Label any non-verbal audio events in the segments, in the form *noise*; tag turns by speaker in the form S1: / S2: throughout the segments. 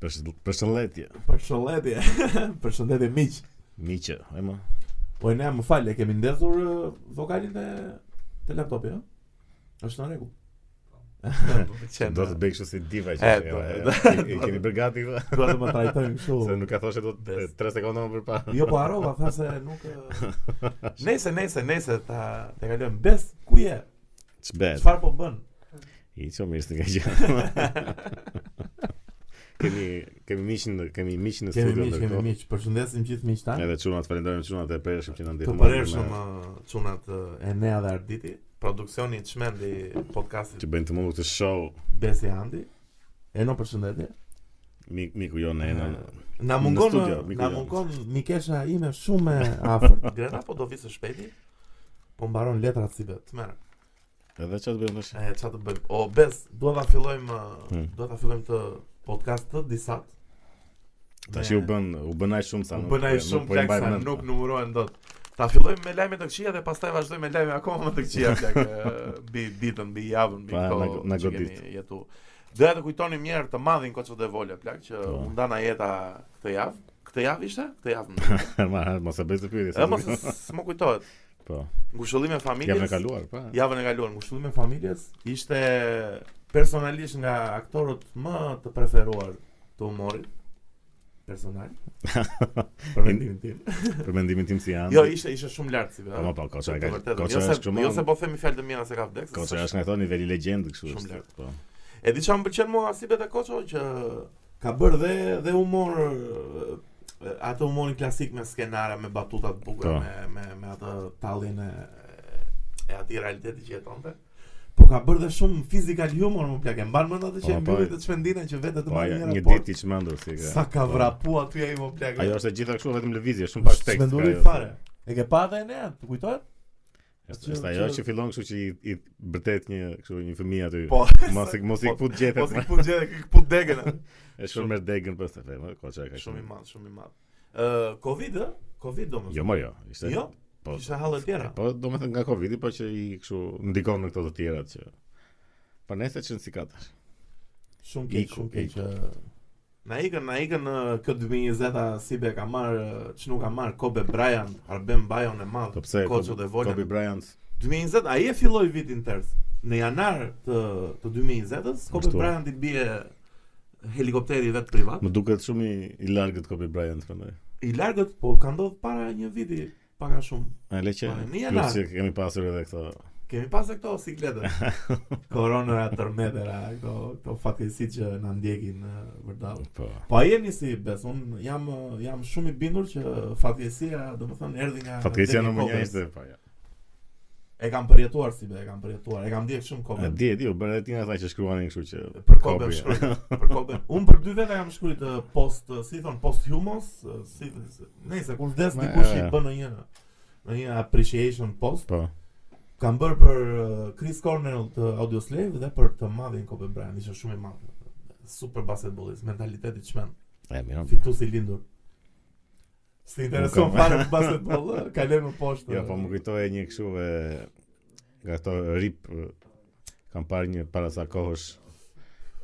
S1: Përsh- Përshëndetje.
S2: Përshëndetje. Përshëndetje miq.
S1: Miqë, e më.
S2: Po ne më fal, e kemi ndezur ë, vokalin te te laptopi, ëh? Është në rregull.
S1: Do të bëj kështu si diva që.
S2: E,
S1: e,
S2: do-
S1: e,
S2: do-
S1: e, e Keni bërë gati këtë?
S2: Dua të Po, më trajtojnë
S1: Se
S2: kështu.
S1: nuk ka thoshë do të
S3: Bes.
S1: 3 sekonda më përpara.
S2: Jo po harrova, tha se
S1: *laughs*
S2: nuk ë, Nese, nese, nese ta ta kalojmë. Bes, ku je?
S1: Ç'bet.
S2: Çfarë po bën?
S1: I çu mirë se ka
S2: *laughs*
S1: gjë. Kemi kemi miq në kemi miq në
S2: Kemi
S1: studio
S2: miq, kemi
S1: ndërkohë.
S2: miq. Përshëndesim gjithë miqtan.
S1: Edhe çunat falenderojmë çunat e përshëm që na
S2: Të
S1: ndihmuan.
S2: përershëm ë, çunat ë, Enea dhe Arditi, produksioni i çmend i podcastit
S1: që bëjnë të mundu këtë show
S2: Besi Andi. Eno përshëndetje.
S1: mik miku jo në enën.
S2: Na
S1: Në
S2: mungon
S1: studio, miku
S2: na
S1: jam.
S2: mungon Mikesha ime shumë e afërt.
S1: *laughs*
S2: Grena po do vi së shpejti. Po mbaron letrat si vet. Merr.
S1: Edhe ç'a të bëjmë tash?
S2: E ç'a të bëjmë? O Bes, dua ta fillojmë,
S1: Hmm.
S2: dua ta fillojmë të podcast të disa.
S1: Tash u bën u bën ai shumë sa.
S2: U
S1: nuk-
S2: bën ai
S1: nuk
S2: shumë
S1: po i
S2: plak
S1: mbajmë
S2: sa
S1: mend.
S2: nuk numërohen dot. Ta fillojmë me lajme të këqija dhe pastaj vazhdojmë me lajme akoma më të
S1: *laughs*
S2: këqija plak e, mbi ditën, mbi javën, mbi
S1: Pa, na-
S2: kohë
S1: na
S2: që
S1: godit.
S2: kemi jetu. Doja të kujtoni një herë të madhin Koço de Vole plak që
S1: Po.
S2: u ndana jeta këtë javë. Këtë javë ishte? Këtë javë.
S1: *laughs*
S2: më duket.
S1: *laughs* Ma, mos e bëj të pyetje.
S2: E mos s'më kujtohet.
S1: *laughs* Po.
S2: Ngushëllime familjes.
S1: Jam e kaluar, po. pa.
S2: Javën e kaluar, ngushëllime familjes ishte personalisht nga aktorët më të preferuar të humorit
S1: *laughs*
S2: personal. Për mendimin tim.
S1: Për mendimin tim si janë.
S2: Jo, ishte ishte shumë lart si.
S1: Po, ma, po, Koço e ka- Koço
S2: Koça
S1: është
S2: është
S1: kështu, ma.
S2: Jo se po themi fjalë të mira se ka vdekur.
S1: Koço është nga këto niveli legjend kështu.
S2: Shumë
S1: është,
S2: lart.
S1: Po.
S2: E di çfarë më pëlqen mua si vetë Koço që ka bërë dhe dhe humor e, atë humorin klasik me skenare, me batuta të bukura,
S1: Po.
S2: me me me atë tallin e e atij realiteti që jetonte. Po ka bërë dhe shumë physical humor më plak. E mban mend
S1: Po,
S2: atë që e
S1: po,
S2: mbylli të çmendinën që vetë të
S1: Po,
S2: marrë
S1: ja,
S2: një
S1: një
S2: raport.
S1: ditë i çmendur si ka.
S2: Sa ka
S1: po.
S2: vrapu aty ai më plak.
S1: Ajo është e gjitha kështu vetëm lëvizje, shumë pak tekst.
S2: Çmenduri
S1: ka ajo.
S2: fare. E ke pa edhe ne, të kujtohet?
S1: Është është ajo që fillon kështu që i, i bërtet një kështu një fëmijë aty.
S2: *laughs* Po.
S1: Mos i mos i
S2: po,
S1: fut
S2: Mos
S1: gjethet. *laughs*
S2: i
S1: ma.
S2: put gjë, i put
S1: *laughs*
S2: degën. a?
S1: Është shumë merr degën pastaj. Po, Koço e ka.
S2: Shumë i madh, shumë i madh. Ë, Covid, ë? Covid domethënë.
S1: Jo, më jo. Ishte.
S2: Jo,
S1: Po.
S2: ishte hallë e tjera.
S1: Po, domethënë nga Covidi, po që i kështu ndikon në këto të tjerat që Po nëse çën si katash.
S2: Shumë keq,
S1: Iku,
S2: shumë keq. ë. Na ikën, na ikën ë, kë 2020-a si be ka marr, ç'nu ka marr Kobe Bryant, Arben Bajon e madh,
S1: Po pse
S2: Koço dhe Volen.
S1: Kobe Bryant
S2: 2020 ai e filloi vitin tërës. Në janar të të 2020-s Kobe
S1: Ashtu.
S2: Bryant i bie helikopteri vet privat.
S1: më duket shumë i, i largët Kobe Bryant prandaj.
S2: I largët, po ka ndodhur para një viti pak a shumë.
S1: A le që
S2: Po, në janar.
S1: plus që kemi pasur edhe këto
S2: Kemi pas e këto
S1: *laughs*
S2: sikletët. Koronëra, tërmetëra, këto, këto fatkesi që na ndjekin ë, vërdall.
S1: po.
S2: Po ai e nisi bes, un jam jam shumë i bindur që fatkeqësia, domethënë erdhi nga
S1: Fatkeqësia
S2: Danny
S1: numër 1
S2: Robbins.
S1: ishte po ja.
S2: E kam përjetuar si be, e kam përjetuar. E kam ndjek shumë
S1: A
S2: Kobe.
S1: di, e di, u bën edhe ti nga ata që shkruanin kështu që
S2: Për Kobe
S1: Kobe,
S2: më shkruaj.
S1: *laughs*
S2: Për Kobe. Un për dy veta jam shkruajt eh, post, eh, si thon, post humos, eh, si nëse kur vdes
S1: Ma,
S2: dikush i
S1: e.
S2: bën një një appreciation post.
S1: po.
S2: Kam bërë për eh, Chris Cornell të Audioslave dhe për të madhin Kobe Bryant, ishte shumë i madh. Super basketbollist, mentaliteti çmend.
S1: E mirë.
S2: Fitusi lindur. Si intereson
S1: Nuk kam-
S2: fare për basketboll, ë, kaloj më poshtë.
S1: Jo, po më kujtoje një kështu e nga ato rip e, kam parë një para sa kohësh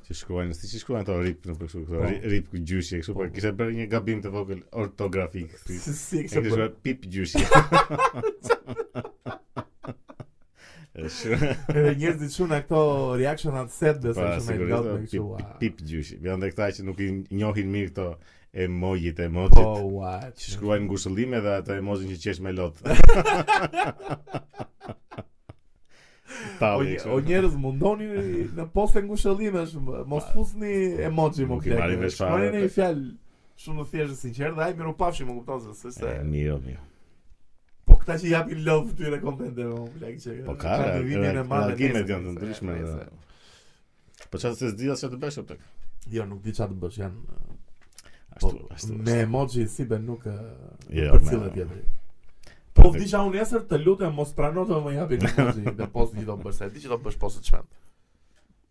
S1: që shkruajnë, si që shkruajnë ato rip në për kështu, këto
S2: Po.
S1: ri- rip gjyshje kështu, po
S2: Po.
S1: kishte bërë një gabim të vogël ortografik. Si,
S2: Si si po.
S1: e
S2: kështë
S1: kishte
S2: bërë?
S1: shkruar pip
S2: *laughs*
S1: gjyshje. E shumë-
S2: Edhe njerëzit shumë në këto reaction atë set dhe se
S1: Pa,
S2: shumë e gëllë me
S1: sigurisht, po,
S2: kështu
S1: pip,
S2: ua.
S1: pip gjyshi. Vjen dhe këta që nuk i njohin mirë këto emojit,
S2: Po,
S1: emojit.
S2: ua.
S1: Që shkruajnë ngushëllime dhe ata emojin që qesh me *laughs* lot.
S2: O,
S1: Tali,
S2: nje- o njerëz mundoni në poste ngushëllimesh, më- mos fusni emoji më
S1: nuk i
S2: plek.
S1: marrin vesh fare.
S2: Shkruani një fjalë shumë të thjeshtë sinqer dhe ai miru pafshi më kupton se se.
S1: Miro, miro.
S2: Po këta që japin love këtyre komenteve më plek që.
S1: Po ka,
S2: kanë devimin e madh e
S1: reagime
S2: nesër,
S1: janë të
S2: nesër,
S1: ndryshme.
S2: e,
S1: dhe-
S2: nesër.
S1: Po çfarë se s'di as çfarë të bësh atë.
S2: Jo, nuk di çfarë të bësh, janë
S1: Ashtu,
S2: Po,
S1: ashtu.
S2: me emoji si be nuk
S1: Jo,
S2: jo, për cilë
S1: me-
S2: tjetri.
S1: Po,
S2: Po
S1: tek-
S2: vdisha unë nesër të lutem mos prano të më japin emoji dhe post që do bësh, se e di që do bësh post të çmend.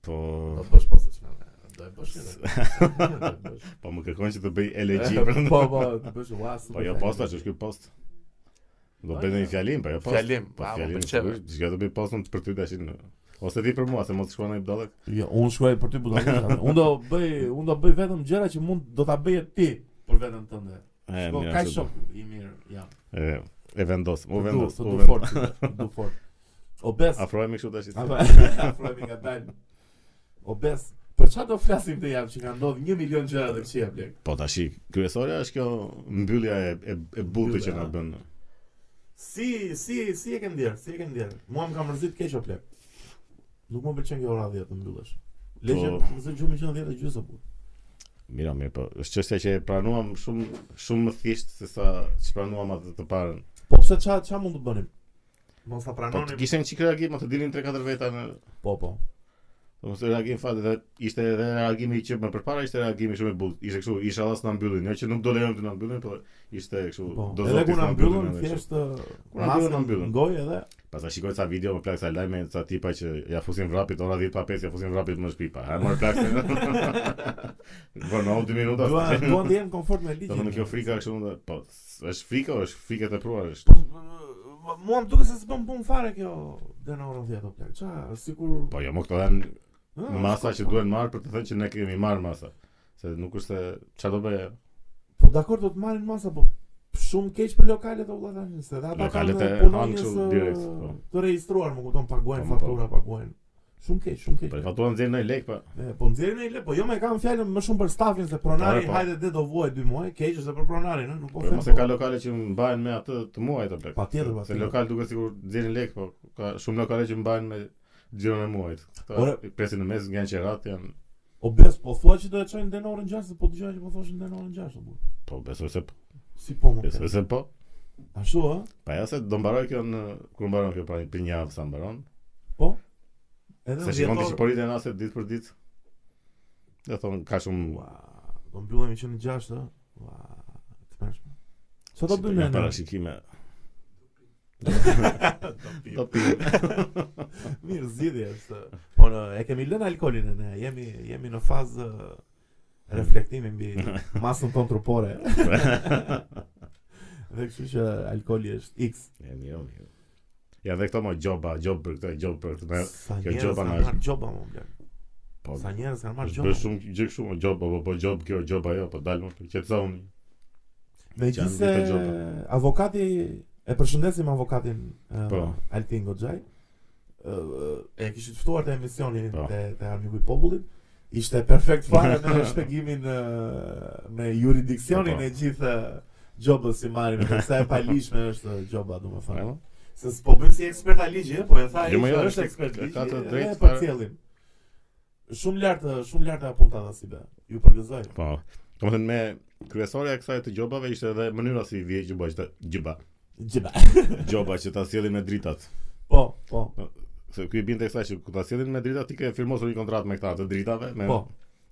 S1: Po,
S2: Do bësh post të çmend. Do e bësh.
S1: *laughs*
S2: edhe. Do e bësh.
S1: po më kërkon që të
S2: *laughs*
S1: bëj elegji
S2: Po,
S1: prandaj.
S2: po, të bësh ua super.
S1: Po jo posta, ç'është ky post? Do
S2: Po,
S1: bëj
S2: jo.
S1: një fjalim, po jo post.
S2: Fjalim, Ah,
S1: po
S2: pa, më
S1: fjalim. po,
S2: pëlqeve.
S1: sigurisht, S'ka do bëj postën për ty tashin. në- Ose ti për mua, se mos shkruan ai budallëk.
S2: Jo, unë shkruaj për ty budallë. unë do bëj, unë do bëj vetëm gjëra që mund do ta bëje ti për veten tënde.
S1: E,
S2: Po
S1: mirë,
S2: ka
S1: ashtu do. Po
S2: shok i mirë, jam.
S1: E, e vendos, u
S2: Të du,
S1: vendos,
S2: të
S1: u
S2: du
S1: vendos.
S2: fort, të du- të du fort. Obes.
S1: Afrohemi kështu tash. i se-
S2: *laughs* Apo afrohemi nga dalë. Obes. Për çfarë do flasim të javë që ka ndodhur 1 milion gjëra të këqija blek?
S1: Po tash kryesorja është kjo mbyllja e e, e butë që na bën.
S2: Mbyllja. Si si si e ke ndjer? Si e ke ndjer? Mua më ka mërzit keq o plek. Nuk më pëlqen kjo ora 10 të mbyllesh. Le që
S1: Po.
S2: mëse gjumë që në 10 e gjysë apo.
S1: Mira, mirë, po është çështja që e pranuam shumë shumë më thjesht se sa që pranuam atë të parën.
S2: Po pse ç'a ç'a mund të bënim? Mos ta
S1: Po të
S2: pranoni.
S1: kishte një çik reagim, atë dilin 3-4 veta në
S2: Po po.
S1: Mos reagim fat dhe ishte edhe reagimi që më përpara ishte reagimi shumë i butë. Ishte kështu, inshallah s'na mbyllin, jo që nuk do lejojmë të na mbyllin, po ishte kështu.
S2: Po.
S1: do
S2: Edhe
S1: zoti
S2: kur
S1: s'na
S2: na mbyllën
S1: edhe kështu.
S2: thjesht ë,
S1: Kur na
S2: masën
S1: mbyllën, na mbyllën.
S2: Gojë edhe
S1: Pastaj shikoj ca video me plak sa lajme ca tipa që ja fusin vrapit ora 10 pa 5 ja fusin vrapit më në shtëpi pa. Ha marr plak. *laughs* Vënë 2 minuta.
S2: duan duan të jenë komfort me
S1: Do të thonë
S2: ligjin.
S1: Po, kjo frika kështu më po është frika, është frikë e tepruar është.
S2: Po m- mua më duket se s'bën punë fare kjo dhe në orën 10 o plak. Ç'a sikur
S1: Po jo, më këto janë
S2: Ah,
S1: masa
S2: s'ka-
S1: që duhen marrë për të thënë që ne kemi marrë masa. Se nuk është se çfarë do bëj.
S2: Po dakor do të marrin masa, po shumë keq për lokalet o vëlla tani, se dhe ata
S1: Lokalet
S2: kanë
S1: e hanë
S2: punonjës
S1: kështu
S2: ë,
S1: direkt, po.
S2: të registruar, më kupton, paguajnë
S1: Po, po.
S2: fatura, paguajnë. Shumë keq, shumë keq.
S1: Po i fatuan nxjerr në lek pa.
S2: E, Po nxjerrin ai le, po jo më kam fjalën më shumë për stafin se pronari,
S1: Po, e, po.
S2: hajde dhe do vuaj 2 muaj, keq është dhe për pronarin, ë, nuk po
S1: Po
S2: them.
S1: mos e ka lokale që mbajnë me atë të muaj të plak.
S2: Patjetër,
S1: Se
S2: patjetër.
S1: lokal duket sikur nxjerrin lek, po ka shumë lokale që mbajnë me xhiron e muajit. Këta
S2: Ore-
S1: i presin në mes nga qerat janë
S2: O bes, po thua që do e çojnë den orën 6, se po dëgjoj që po thoshin den orën 6, o burr.
S1: po besoj se po,
S2: Si po më.
S1: besoj
S2: ke?
S1: se po.
S2: Ashtu ë?
S1: Pa ja se do mbaroj kjo në kur mbaron kjo pra për një javë sa mbaron.
S2: Edhe
S1: Se
S2: në
S1: shikon ti
S2: dhjetor-
S1: çiporitën ase ditë për ditë. Do thonë ka shumë
S2: Ua, do mbyllemi që në 6, ë? Ua, të mërshme. Sa do bëjmë
S1: janë
S2: ne?
S1: parashikime. *laughs*
S2: Do
S1: Do
S2: *laughs*
S1: pimë.
S2: Mirë zgjidhje është. Po në, e kemi lënë alkolin e ne, jemi jemi në fazë ë, reflektimi
S1: *laughs*
S2: mbi masën tonë trupore. Dhe kështu që alkoli është X.
S1: E mirë, mirë. Ja dhe këto më gjoba, gjobë për këtë, gjobë për këtë. ne-
S2: Sa
S1: kjo
S2: njerëz
S1: gjoba
S2: kanë
S1: na-
S2: marrë gjoba më bler.
S1: Po,
S2: Sa njerëz kanë marrë
S1: Bësh
S2: gjoba.
S1: shumë gjë shumë gjoba, po po gjob kjo, gjob ajo, po dalë më për qetësoni.
S2: Megjithse
S1: janë vite gjoba.
S2: avokati e përshëndesim avokatin ë,
S1: Po.
S2: Altin Goxhaj. Ë, e kishit ftuar te emisioni
S1: Po.
S2: te te Armiku i Popullit. Ishte perfekt fare
S1: *laughs*
S2: me shpjegimin ë, me juridiksionin
S1: Po.
S2: e gjithë ë, gjobës që marrim,
S1: *laughs*
S2: dhe sa e palishme është gjoba domethënë.
S1: Ajo.
S2: Se s'po bën si ekspert a ligji, po e tha ai
S1: Po. Jo,
S2: që
S1: jo,
S2: është
S1: është-
S2: ekspert
S1: ka
S2: ligji.
S1: të
S2: e
S1: drejtë
S2: për
S1: fare.
S2: cjellin. Shumë lart, ë, shumë lart e apunta dha si be. Ju përgëzoj.
S1: Po. Domethënë me kryesorja e kësaj të gjobave ishte edhe mënyra si vije gjoba, që ta- gjoba,
S2: Gjiba.
S1: gjoba që ta sjellin me dritat.
S2: Po, po.
S1: Se ky i binte kësaj që ku ta sjellin me dritat ti ke firmosur një kontratë me këta të dritave, me
S2: Po.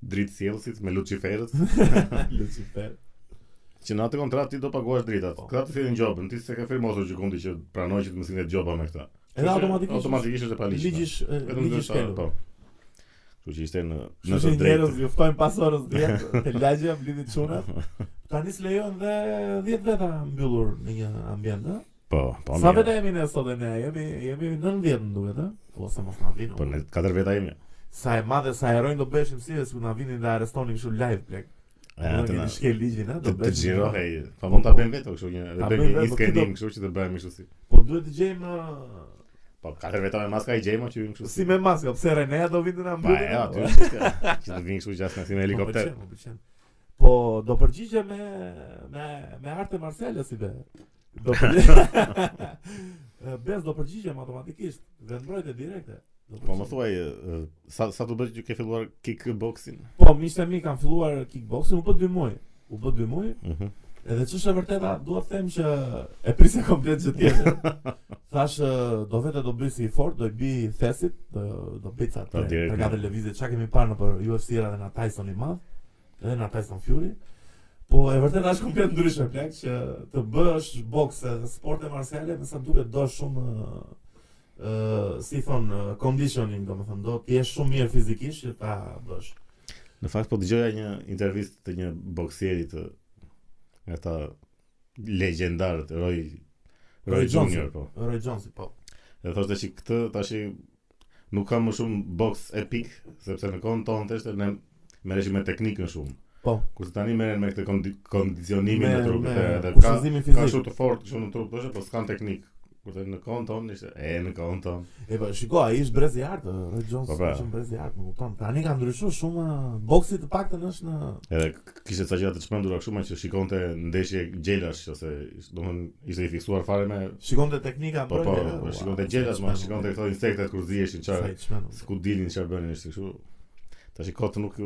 S1: dritë sjellësit, me Luciferët,
S2: *laughs* Lucifer.
S1: që në atë kontratë ti do paguash dritat.
S2: Po.
S1: Këta të sjellin gjobën, ti s'e ke firmosur gjikundi që pranoj që të mësinë gjoba me këta.
S2: Edhe
S1: Kështu që
S2: automatikisht.
S1: Automatikisht është e palishme.
S2: Ligjish, ë,
S1: Vetëm
S2: ligjish
S1: ndërsa,
S2: kelu.
S1: po. Kështu që ishte në në
S2: Kështu
S1: të
S2: që
S1: drejtë.
S2: njerëz ju ftojnë pas orës 10,
S1: *laughs*
S2: te lagja mblidhin çunat. Tani s'lejojnë dhe 10 veta mbyllur në një ambient, ë?
S1: Po, po.
S2: Sa
S1: mirë.
S2: veta jemi ne sot e ne? Jemi jemi 90 më duhet, ë? Po sa mos na vinë.
S1: Po
S2: o.
S1: në katër veta jemi.
S2: Sa e madhe sa herojnë do bëshim si dhe s'u na vinin dhe arrestonin kështu live plek.
S1: E,
S2: Do
S1: atë
S2: keni
S1: na
S2: shkel ligjin, a?
S1: të të
S2: bëjmë-
S1: xhirohej. Po mund ta bëjmë vetë kështu një të
S2: Ta bëjmë
S1: bëjmë
S2: vetë,
S1: një
S2: po
S1: skenim
S2: kujdo.
S1: kështu që të bëjmë kështu si.
S2: Po duhet të gjejmë ë,
S1: Po katër veta me maska i gjejmë që vim kështu
S2: si me maska, pse Renea do vinë na
S1: Pa
S2: mbyllë.
S1: e aty
S2: po.
S1: është kjo, *laughs* që
S2: *laughs*
S1: të vinë kështu gjatë si me helikopter.
S2: Më pëlqen, më pëlqen. Po do përgjigje me me me arte marciale si be. Do
S1: *laughs*
S2: përgjigje. Bes do përgjigjem automatikisht, vendmbrojtje direkte. Do
S1: Po më
S2: përgjigjem.
S1: thuaj e, sa sa të bëj që ke filluar kickboxing?
S2: Po miqtë e mi kanë filluar kickboxing, u bë 2 muaj. U bë 2 muaj,
S1: Mhm.
S2: Edhe ç'është e vërteta, dua të them që e prisja komplet gjë
S1: *laughs*
S2: tjetër. Thash ë, do vetë do bëj si i fort, do i bëj thesit, do do bëj ca
S1: Po,
S2: tre,
S1: direkt,
S2: tre katër lëvizje çka kemi parë në për UFC-ra dhe na Tyson i madh, edhe na Tyson Fury. Po e vërteta është komplet ndryshe plak që të bësh boks edhe sporte marciale, me sa më duket do shumë ë ë, si thon ë, conditioning domethënë do të jesh shumë mirë fizikisht që ta bësh.
S1: Në fakt po dëgjoja një intervistë të një boksieri të nga ta legjendarët Roy Roy
S2: Roy Johnson.
S1: Junior po.
S2: Roy Jones po.
S1: Dhe thoshte që këtë tash nuk kam më shumë box epik, sepse në kohën tonë të ishte ne merreshim me teknikën shumë.
S2: Po.
S1: Kurse tani merren me këtë kondi kondicionimin
S2: Me-
S1: e trupit
S2: me
S1: e- edhe ka
S2: kushtizimin
S1: ka
S2: fizik.
S1: shumë të fortë shumë në trup thoshte, po s'kan teknik. Kurse në kohën tonë ishte e në kohën tonë.
S2: E po, shiko, ai ish brez i artë, Red Jones
S1: Po, pra.
S2: ishte brez i artë, më kupton. Tani ka ndryshuar shumë eh, boksi të paktën është në
S1: Edhe k- kishte ca gjëra të çmendura kështu ma që shikonte ndeshje gjelash ose ish- domthon ishte i fiksuar fare me
S2: shikonte teknika
S1: po po, po, shikonte gjelash, ma shikonte këto insektet kur ziheshin çfarë
S2: çfarë.
S1: S'ku dilin çfarë bënin ishte kështu. Tash i kot nuk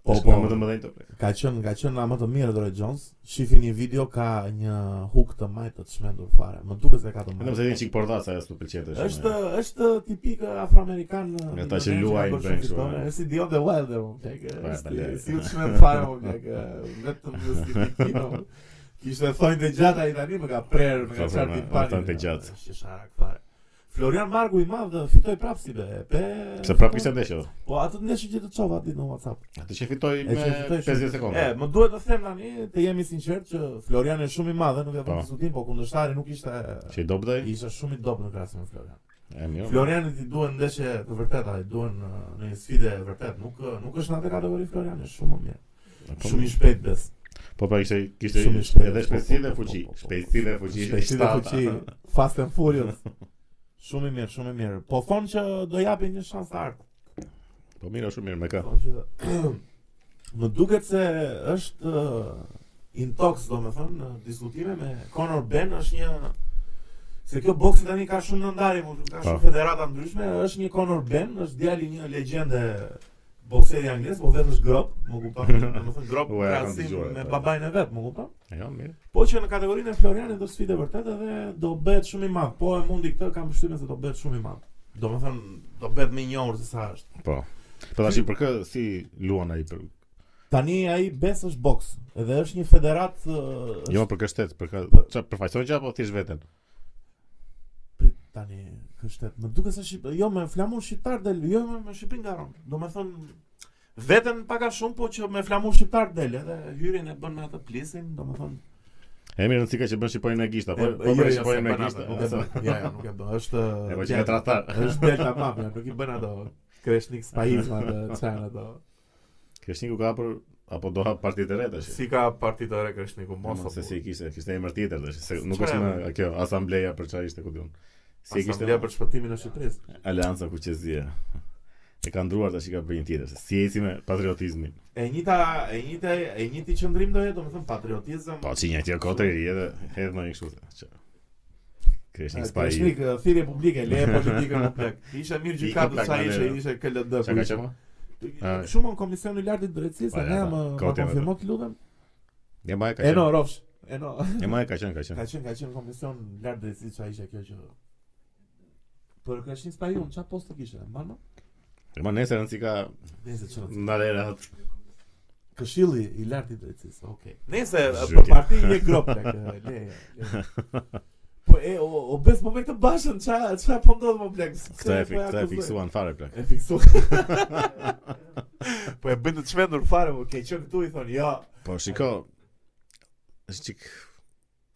S2: Po,
S1: tash
S2: po.
S1: nga më të mëdhenj të plek.
S2: Ka qenë, ka qenë nga më të mirë Red Jones. Shifi një video ka një hook të majtë të çmendur fare. Më duket se ka të
S1: Vetëm
S2: majtë.
S1: se vjen çik pordaca ajo s'u pëlqente shumë.
S2: Është është tipik afroamerikan.
S1: Nga
S2: eh,
S1: ta që
S2: milioner
S1: luajnë,
S2: ka bërë
S1: bre,
S2: shumë
S1: kështu,
S2: fitore.
S1: eh.
S2: Është si Dion the Wilder, më tek.
S1: Pa,
S2: është
S1: bale.
S2: Si u çmend fare më tek. Vetëm
S1: *laughs*
S2: justifikim. Kishte thonjë të gjatë ai tani më ka prerë, më ka
S1: Ka
S2: çarë
S1: prerë,
S2: ti
S1: ma,
S2: pani.
S1: thonjë po, të gjatë.
S2: Është sharak fare. Florian Margu i madh fitoi prap si be. Pe.
S1: Se prapë Po, kishte ndeshje. do.
S2: Po atë ndeshje që të çova atë ditë në WhatsApp.
S1: Atë që fitoi
S2: E
S1: me
S2: që fitoj shumë.
S1: 50 sekonda.
S2: E, më duhet të them tani, të jemi sinqert që Florian është shumë i madh, nuk e
S1: Po.
S2: kam diskutim, po kundërshtari nuk ishte
S1: Që i dobdej?
S2: ishte shumë i dobët në krahasim me Florian.
S1: E mirë.
S2: Florianit i duhen ndeshje të vërteta, i duhen uh, në një sfide e vërtet, nuk uh, nuk është në atë kategori Florian, është shumë më mirë.
S1: Po,
S2: Shumë i shpejt bes.
S1: Po pra kishte kishte
S2: Shumë i shpejtë,
S1: edhe shpejtësi dhe
S2: po, po, po,
S1: fuqi.
S2: po, po, po.
S1: Shpejtësi dhe fuqi.
S2: Shpejtësi dhe
S1: shtata.
S2: fuqi, Fast and Furious. Shumë i mirë, shumë i mirë. Po thonë që do japin një shans të art.
S1: Po mirë, shumë mirë me ka.
S2: Po që *clears throat* më duket se është uh, intox domethënë në diskutime me Conor Ben është një se kjo boksi tani ka shumë nëndarje, mund ka shumë
S1: Po.
S2: federata ndryshme, është një Conor Ben, është djali i një legjende bokseri anglez, po vetë është grop, më kupton,
S1: *laughs*
S2: domethënë grop
S1: Ua, ja kam
S2: krahasim
S1: dëgjuar,
S2: me
S1: po.
S2: babain e vet, më kupton?
S1: Jo, mirë.
S2: Po që në kategorinë e Florianit do sfidë vërtet edhe do bëhet shumë i madh, po e mundi këtë kam përshtypjen se do bëhet shumë i madh. Domethënë do bëhet më i njohur se sa është.
S1: Po. Po tash për kë si luan ai për
S2: Tani ai bes është boks, edhe është një federat ë, është
S1: jo për kë shtet, për kë
S2: Po.
S1: çfarë përfaqëson gjë apo thjesht veten?
S2: prit tani kështet. Më duket se shqip, jo me flamun shqiptar del, jo me, me Shqipërinë garon. Domethën veten pak a shumë, po që me flamun shqiptar del, edhe hyrjen e bën me atë plisin, domethën.
S1: E mirë rëndsi ka që bën shqiponin e gishta, po
S2: e-
S1: po bën
S2: jo, jo,
S1: shqiponin
S2: se
S1: e
S2: bën
S1: gishta.
S2: atë, nuk e bën. Jo, jo, nuk e bën.
S1: *laughs*
S2: Është
S1: E po që ka tratar.
S2: Është delta map, ja, nuk i bën ato kreshnik spahizma atë çan ato.
S1: Krishniku ka hapur apo do hap partitë e re tash.
S2: Si ka partitë re kreshniku mos
S1: Mos se si kishte, kishte emër tjetër tash, se nuk
S2: Çfarë
S1: është
S2: emri?
S1: më kjo asambleja për çfarë ishte ku diun. Si e kishte
S2: Asambleja për shpëtimin e Shqipërisë.
S1: Alianca Kuqezia. E ka ndruar tash i ka bërë një tjetër, se si eci me patriotizmin.
S2: E njëta, e njëta, e njëti qëndrim do jetë, domethënë patriotizëm.
S1: Po që një tjetër kote i ri edhe hedh në një kështu. se, që- Kreshnik
S2: Kreshnik,
S1: spa i.
S2: Kreshnik, thirrje publike,
S1: *laughs*
S2: le politikën në plak. Isha mirë
S1: Ike
S2: gjykatës
S1: plak
S2: sa
S1: në
S2: ishe,
S1: lero.
S2: ishe KLD.
S1: Çka ka qenë? Ah.
S2: Shumë në komisioni i lartë i drejtësisë,
S1: Pa,
S2: ne
S1: ja, po.
S2: më
S1: pa.
S2: më
S1: Kotja,
S2: konfirmo të lutem.
S1: Ja më e ka
S2: E no,
S1: qenë.
S2: rofsh. E no. *laughs*
S1: Ja më e ka qenë, ka
S2: Ka
S1: qenë.
S2: qenë, ka qenë komision i lartë i drejtësisë, çka ishte kjo që Për Kreshnik Spajun, çfarë post të kishte? Mano?
S1: Ja më nesër rëndsi ka
S2: Nëse çfarë.
S1: ndarera atë.
S2: Këshilli i lartë i drejtësisë. Okej. Nëse
S1: Zhytja.
S2: për Po, parti je grop tek, *laughs* le. le. Po e o, o bes po me këtë bashën, ç'a ç'a po ndodh më blek? Pse
S1: Këtë e
S2: po
S1: fik,
S2: ja
S1: këtë e
S2: akuzoj?
S1: fiksuan fare plak.
S2: E fiksuan. *laughs* po e bën të çmendur fare, po ke qenë këtu i thon, jo.
S1: Po shiko. Është çik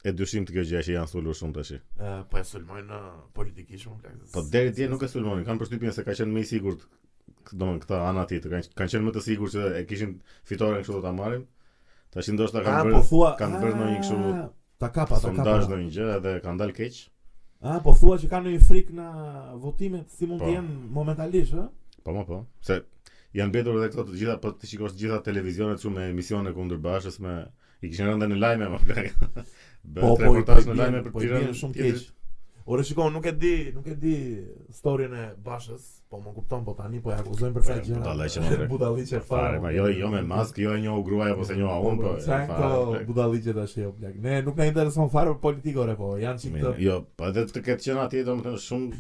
S1: e dyshim të kjo gjë që janë sulur shumë tash.
S2: Ë, po e sulmojnë ë, politikisht më blek.
S1: Po deri dje nuk e sulmonin, kanë përshtypjen se ka qenë më i sigurt, domethënë këta ana tjetër kanë kanë qenë më të sigurt se e kishin fitoren kështu do ta marrin. Tash ndoshta
S2: ka
S1: kanë
S2: po
S1: bërë
S2: thua
S1: kanë bërë ndonjë kështu
S2: "Ah, ta kapa, ta
S1: sondazh
S2: kapa.
S1: ndonjë gjë edhe kanë dalë keq.
S2: Ah, po thua që kanë një frikë në votimet si mund
S1: Po.
S2: të jenë momentalisht, ë?
S1: Po më po, se janë mbetur edhe këto të gjitha, po ti shikosh të gjitha televizionet shumë me emisione kundër bashës me i kishin rënë në lajme më plak. Bën
S2: *laughs* Po, po,
S1: reportazh
S2: i
S1: në
S2: bjen-
S1: lajme për
S2: po i
S1: Tiranë.
S2: bjen shumë
S1: tjetër.
S2: keq. Ore shikoj, nuk e di, nuk e di storyn e Bashës, po më kupton, po tani po e akuzojmë për
S1: Po,
S2: këtë
S1: e,
S2: gjë.
S1: budalliqe, ma, bre.
S2: *laughs* budalliqe fare. po
S1: Fare, ma jo jo me maskë, jo e njohu gruaja po se njoha unë, po. e,
S2: Çan
S1: fare,
S2: këto
S1: plak.
S2: budalliqe tash jo plak. Ne nuk na intereson fare për politikë ore, po janë çik
S1: Mirë,
S2: të
S1: Jo, po edhe të ketë qenë atje domethënë shumë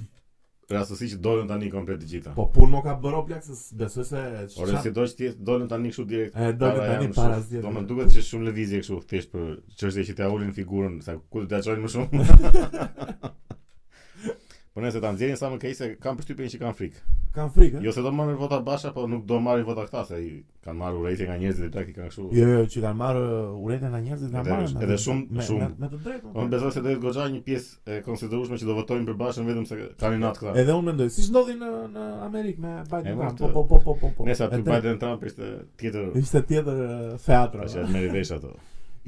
S1: rastësi që dolën tani komplet të gjitha.
S2: Po punë mo ka bërë o, plak se s- besoj se
S1: Ore
S2: çan-
S1: si do që ti dolën tani kështu direkt.
S2: e do të tani para zgjedhjeve.
S1: Do më duket që shumë lëvizje kështu thjesht për *laughs* çështje që t'ia ulin figurën, sa ku të dashojnë më shumë. Po po nëse ta nxjerrin sa më keq se kanë përshtypjen që kanë frikë.
S2: Kan frikë? ë?
S1: Jo se do marrin vota Basha, po nuk do marrin vota këta se i kanë marrë urrejtje nga njerëzit dhe i kanë kështu.
S2: Jo, jo, që kanë marrë uh, urrejtën nga njerëzit kanë
S1: Edhe-
S2: marrë. me-
S1: edhe shumë-
S2: me-
S1: shumë.
S2: me- Me të
S1: Po
S2: drejtën. po.
S1: Unë besoj se do të goxha një pjesë e konsiderueshme që do votojnë për Bashën vetëm se kanë natë këta.
S2: Edhe unë mendoj, si ndodhi në në Amerikë me
S1: Po. E,
S2: Biden
S1: mos
S2: Trump.
S1: të-
S2: Po po po po po. po.
S1: Nëse
S2: E
S1: aty
S2: drejtë.
S1: Biden Trump ishte tjetër
S2: Ishte tjetër uh, teatro.
S1: tash e merri vesh ato.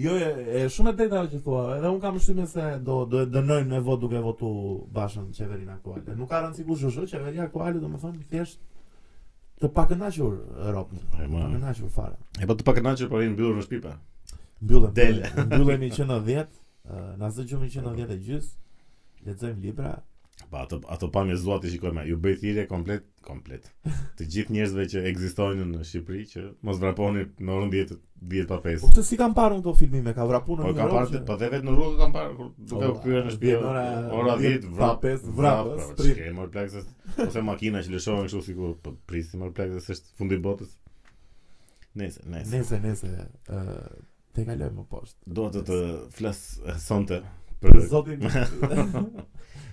S2: Jo, e, e shumë e drejtë ajo që thua. Edhe un kam përshtypjen se do do e dënojnë me vot duke votu bashën qeverinë aktuale. Nuk ka rëndësi kush është, qeveria aktuale domethënë thjesht të pakënaqur Europën.
S1: E ma.
S2: Pakënaqur fare.
S1: E po të pakënaqur po rinë mbyllur në shtëpi. pa.
S2: Mbyllem.
S1: Del.
S2: Mbyllemi 110, ë, na zgjojmë 110 e gjys. Lexojmë libra.
S1: Pa ato ato pamje zlluat i shikoj më. Ju bëj thirrje komplet komplet. Të gjithë njerëzve që ekzistojnë në Shqipëri që mos vraponi në orën 10 10 pa 5.
S2: Po pse si kam parë unë këto filmi me ka vrapuar në
S1: Po
S2: një
S1: ka
S2: rol
S1: parë,
S2: që-
S1: po dhe vetë në rrugë kam parë kur duke
S2: Po,
S1: u kryer në shtëpi ora
S2: ora-
S1: ora 10 vrap
S2: pa 5 vrap,
S1: vrap,
S2: sprint.
S1: ç'ke marr plaksës ose makina që lëshohen kështu sikur po prisi marr plaksës është fundi i botës. Nëse, nëse.
S2: Nese, nese, uh, te kalojmë më poshtë.
S1: Dua të të flas eh, sonte
S2: Për
S1: për
S2: *laughs* zotin.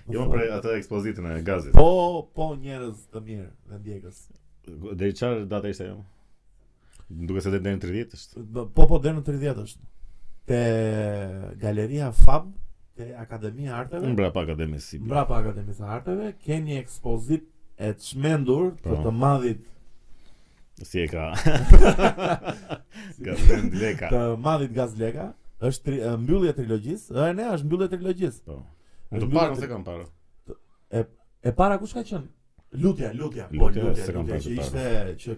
S1: jo më për atë ekspozitën e gazit.
S2: Po, po njerëz të mirë dhe ndjekës.
S1: Deri çfarë data ishte ajo? Duke se deri në 30 është.
S2: Po, po, deri në 30 është. Te Galeria Fab, te Akademia e Arteve,
S1: Unë pak akademisë si.
S2: mbrapa Akademisë së Arteve, ke një ekspozit e çmendur të
S1: Po.
S2: të madhit
S1: Si e ka. *laughs*
S2: si-
S1: Ka vend leka.
S2: të madhit Gazleka, është tri, e, mbyllje e trilogjisë, e ne është mbyllje e trilogjisë.
S1: Po.
S2: Është
S1: Unë të
S2: mbyllje
S1: parë
S2: e
S1: se kam parë.
S2: E para kush ka qenë? Lutja, lutja, po
S1: Lutja,
S2: lutja, lutja,
S1: se kam parë
S2: që
S1: të
S2: ishte që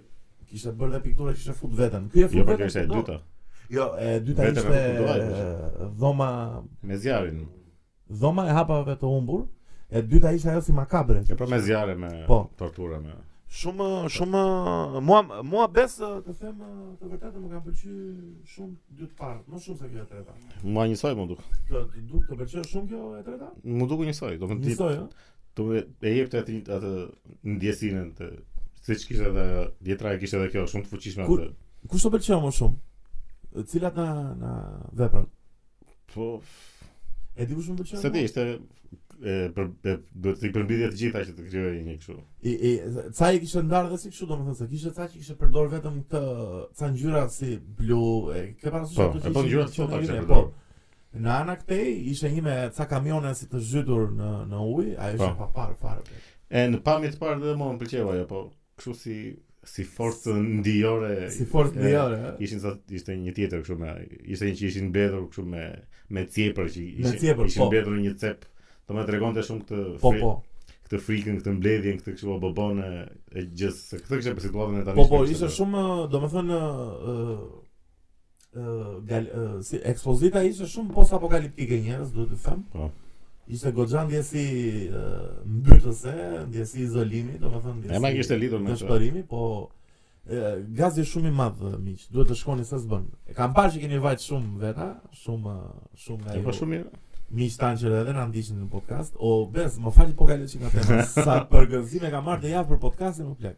S2: kishte bërë dhe piktura që ishte fut veten. Ky e fut
S1: Jo, por
S2: veten.
S1: kjo ishte e
S2: kudo.
S1: dyta.
S2: Jo, e dyta
S1: Veten
S2: ishte
S1: e po, fut kudo, ajo
S2: e, dhoma
S1: Me zjarin.
S2: dhoma e hapave të humbur. E dyta ishte ajo si makabre.
S1: E pra me zjarre me
S2: Po.
S1: tortura me.
S2: Shumë shumë mua mua bes të them të vërtetë më kanë pëlqyer shumë dy të parë, më shumë se kjo e treta.
S1: Mua njësoj më duk.
S2: Do të duk të pëlqeu shumë kjo e treta?
S1: Më duk njësoj. Do më ti
S2: Nisoj, ëh.
S1: do më e jep të atë atë ndjesinë të siç kishte edhe djetra e kishte edhe kjo shumë të fuqishme
S2: Kur-
S1: atë.
S2: Kush të pëlqeu më shumë? Cilat na na veprat?
S1: Po,
S2: E di kush më pëlqeu?
S1: se
S2: më?
S1: di ishte e, për, e, duhet të i përmbidhje të gjitha që të krijojë një kështu.
S2: I, i, ca i kishte ndarë dhe si kështu domethënë se kishte ca që kishte përdor vetëm këtë ca ngjyra si blu, e ke parasysh
S1: Po,
S2: ato që
S1: e po
S2: ishin
S1: ngjyrat
S2: që
S1: sot
S2: në
S1: atë.
S2: ime,
S1: Po.
S2: Po, në anë këtej ishte një me ca kamione si të zhytur në në ujë, ajo ishte
S1: Po.
S2: pa parë fare. bre.
S1: E në pamje të parë dhe mua më pëlqeu ajo, po kështu si si forcë ndijore.
S2: Si fort
S1: e,
S2: në jarë, ë.
S1: Ishin sa ishte një tjetër kështu me ishte një që ishin mbetur kështu me me cepër që ishin
S2: Me cepër,
S1: ishin
S2: po.
S1: mbetur në një cep. Do më tregonte shumë këtë
S2: Po
S1: fri-
S2: po.
S1: këtë frikën, këtë mbledhjen, këtë kështu abobon e, e gjithë se këtë kishte për situatën e tani.
S2: Po po, ishte shumë domethënë ë ë gal- ë, si ekspozita ishte shumë post-apokaliptike njerëz, duhet të them.
S1: Po.
S2: Ishte goxha ndjesi ë, mbytëse, ndjesi izolimi, domethënë ndjesi.
S1: E ma kishte lidhur me këtë.
S2: dëshpërimi, po e, gazi është shumë i madh miq, duhet të shkoni se s'bën. E kam parë që keni vajt shumë veta, shumë shumë nga
S1: E po
S2: ju.
S1: shumë mirë.
S2: Miq tanë që edhe na ndiqin në podcast. O bes, më falni po kaloj që nga
S1: *laughs*
S2: tema. Sa përgëzime kam marrë të javë për podcastin më plak.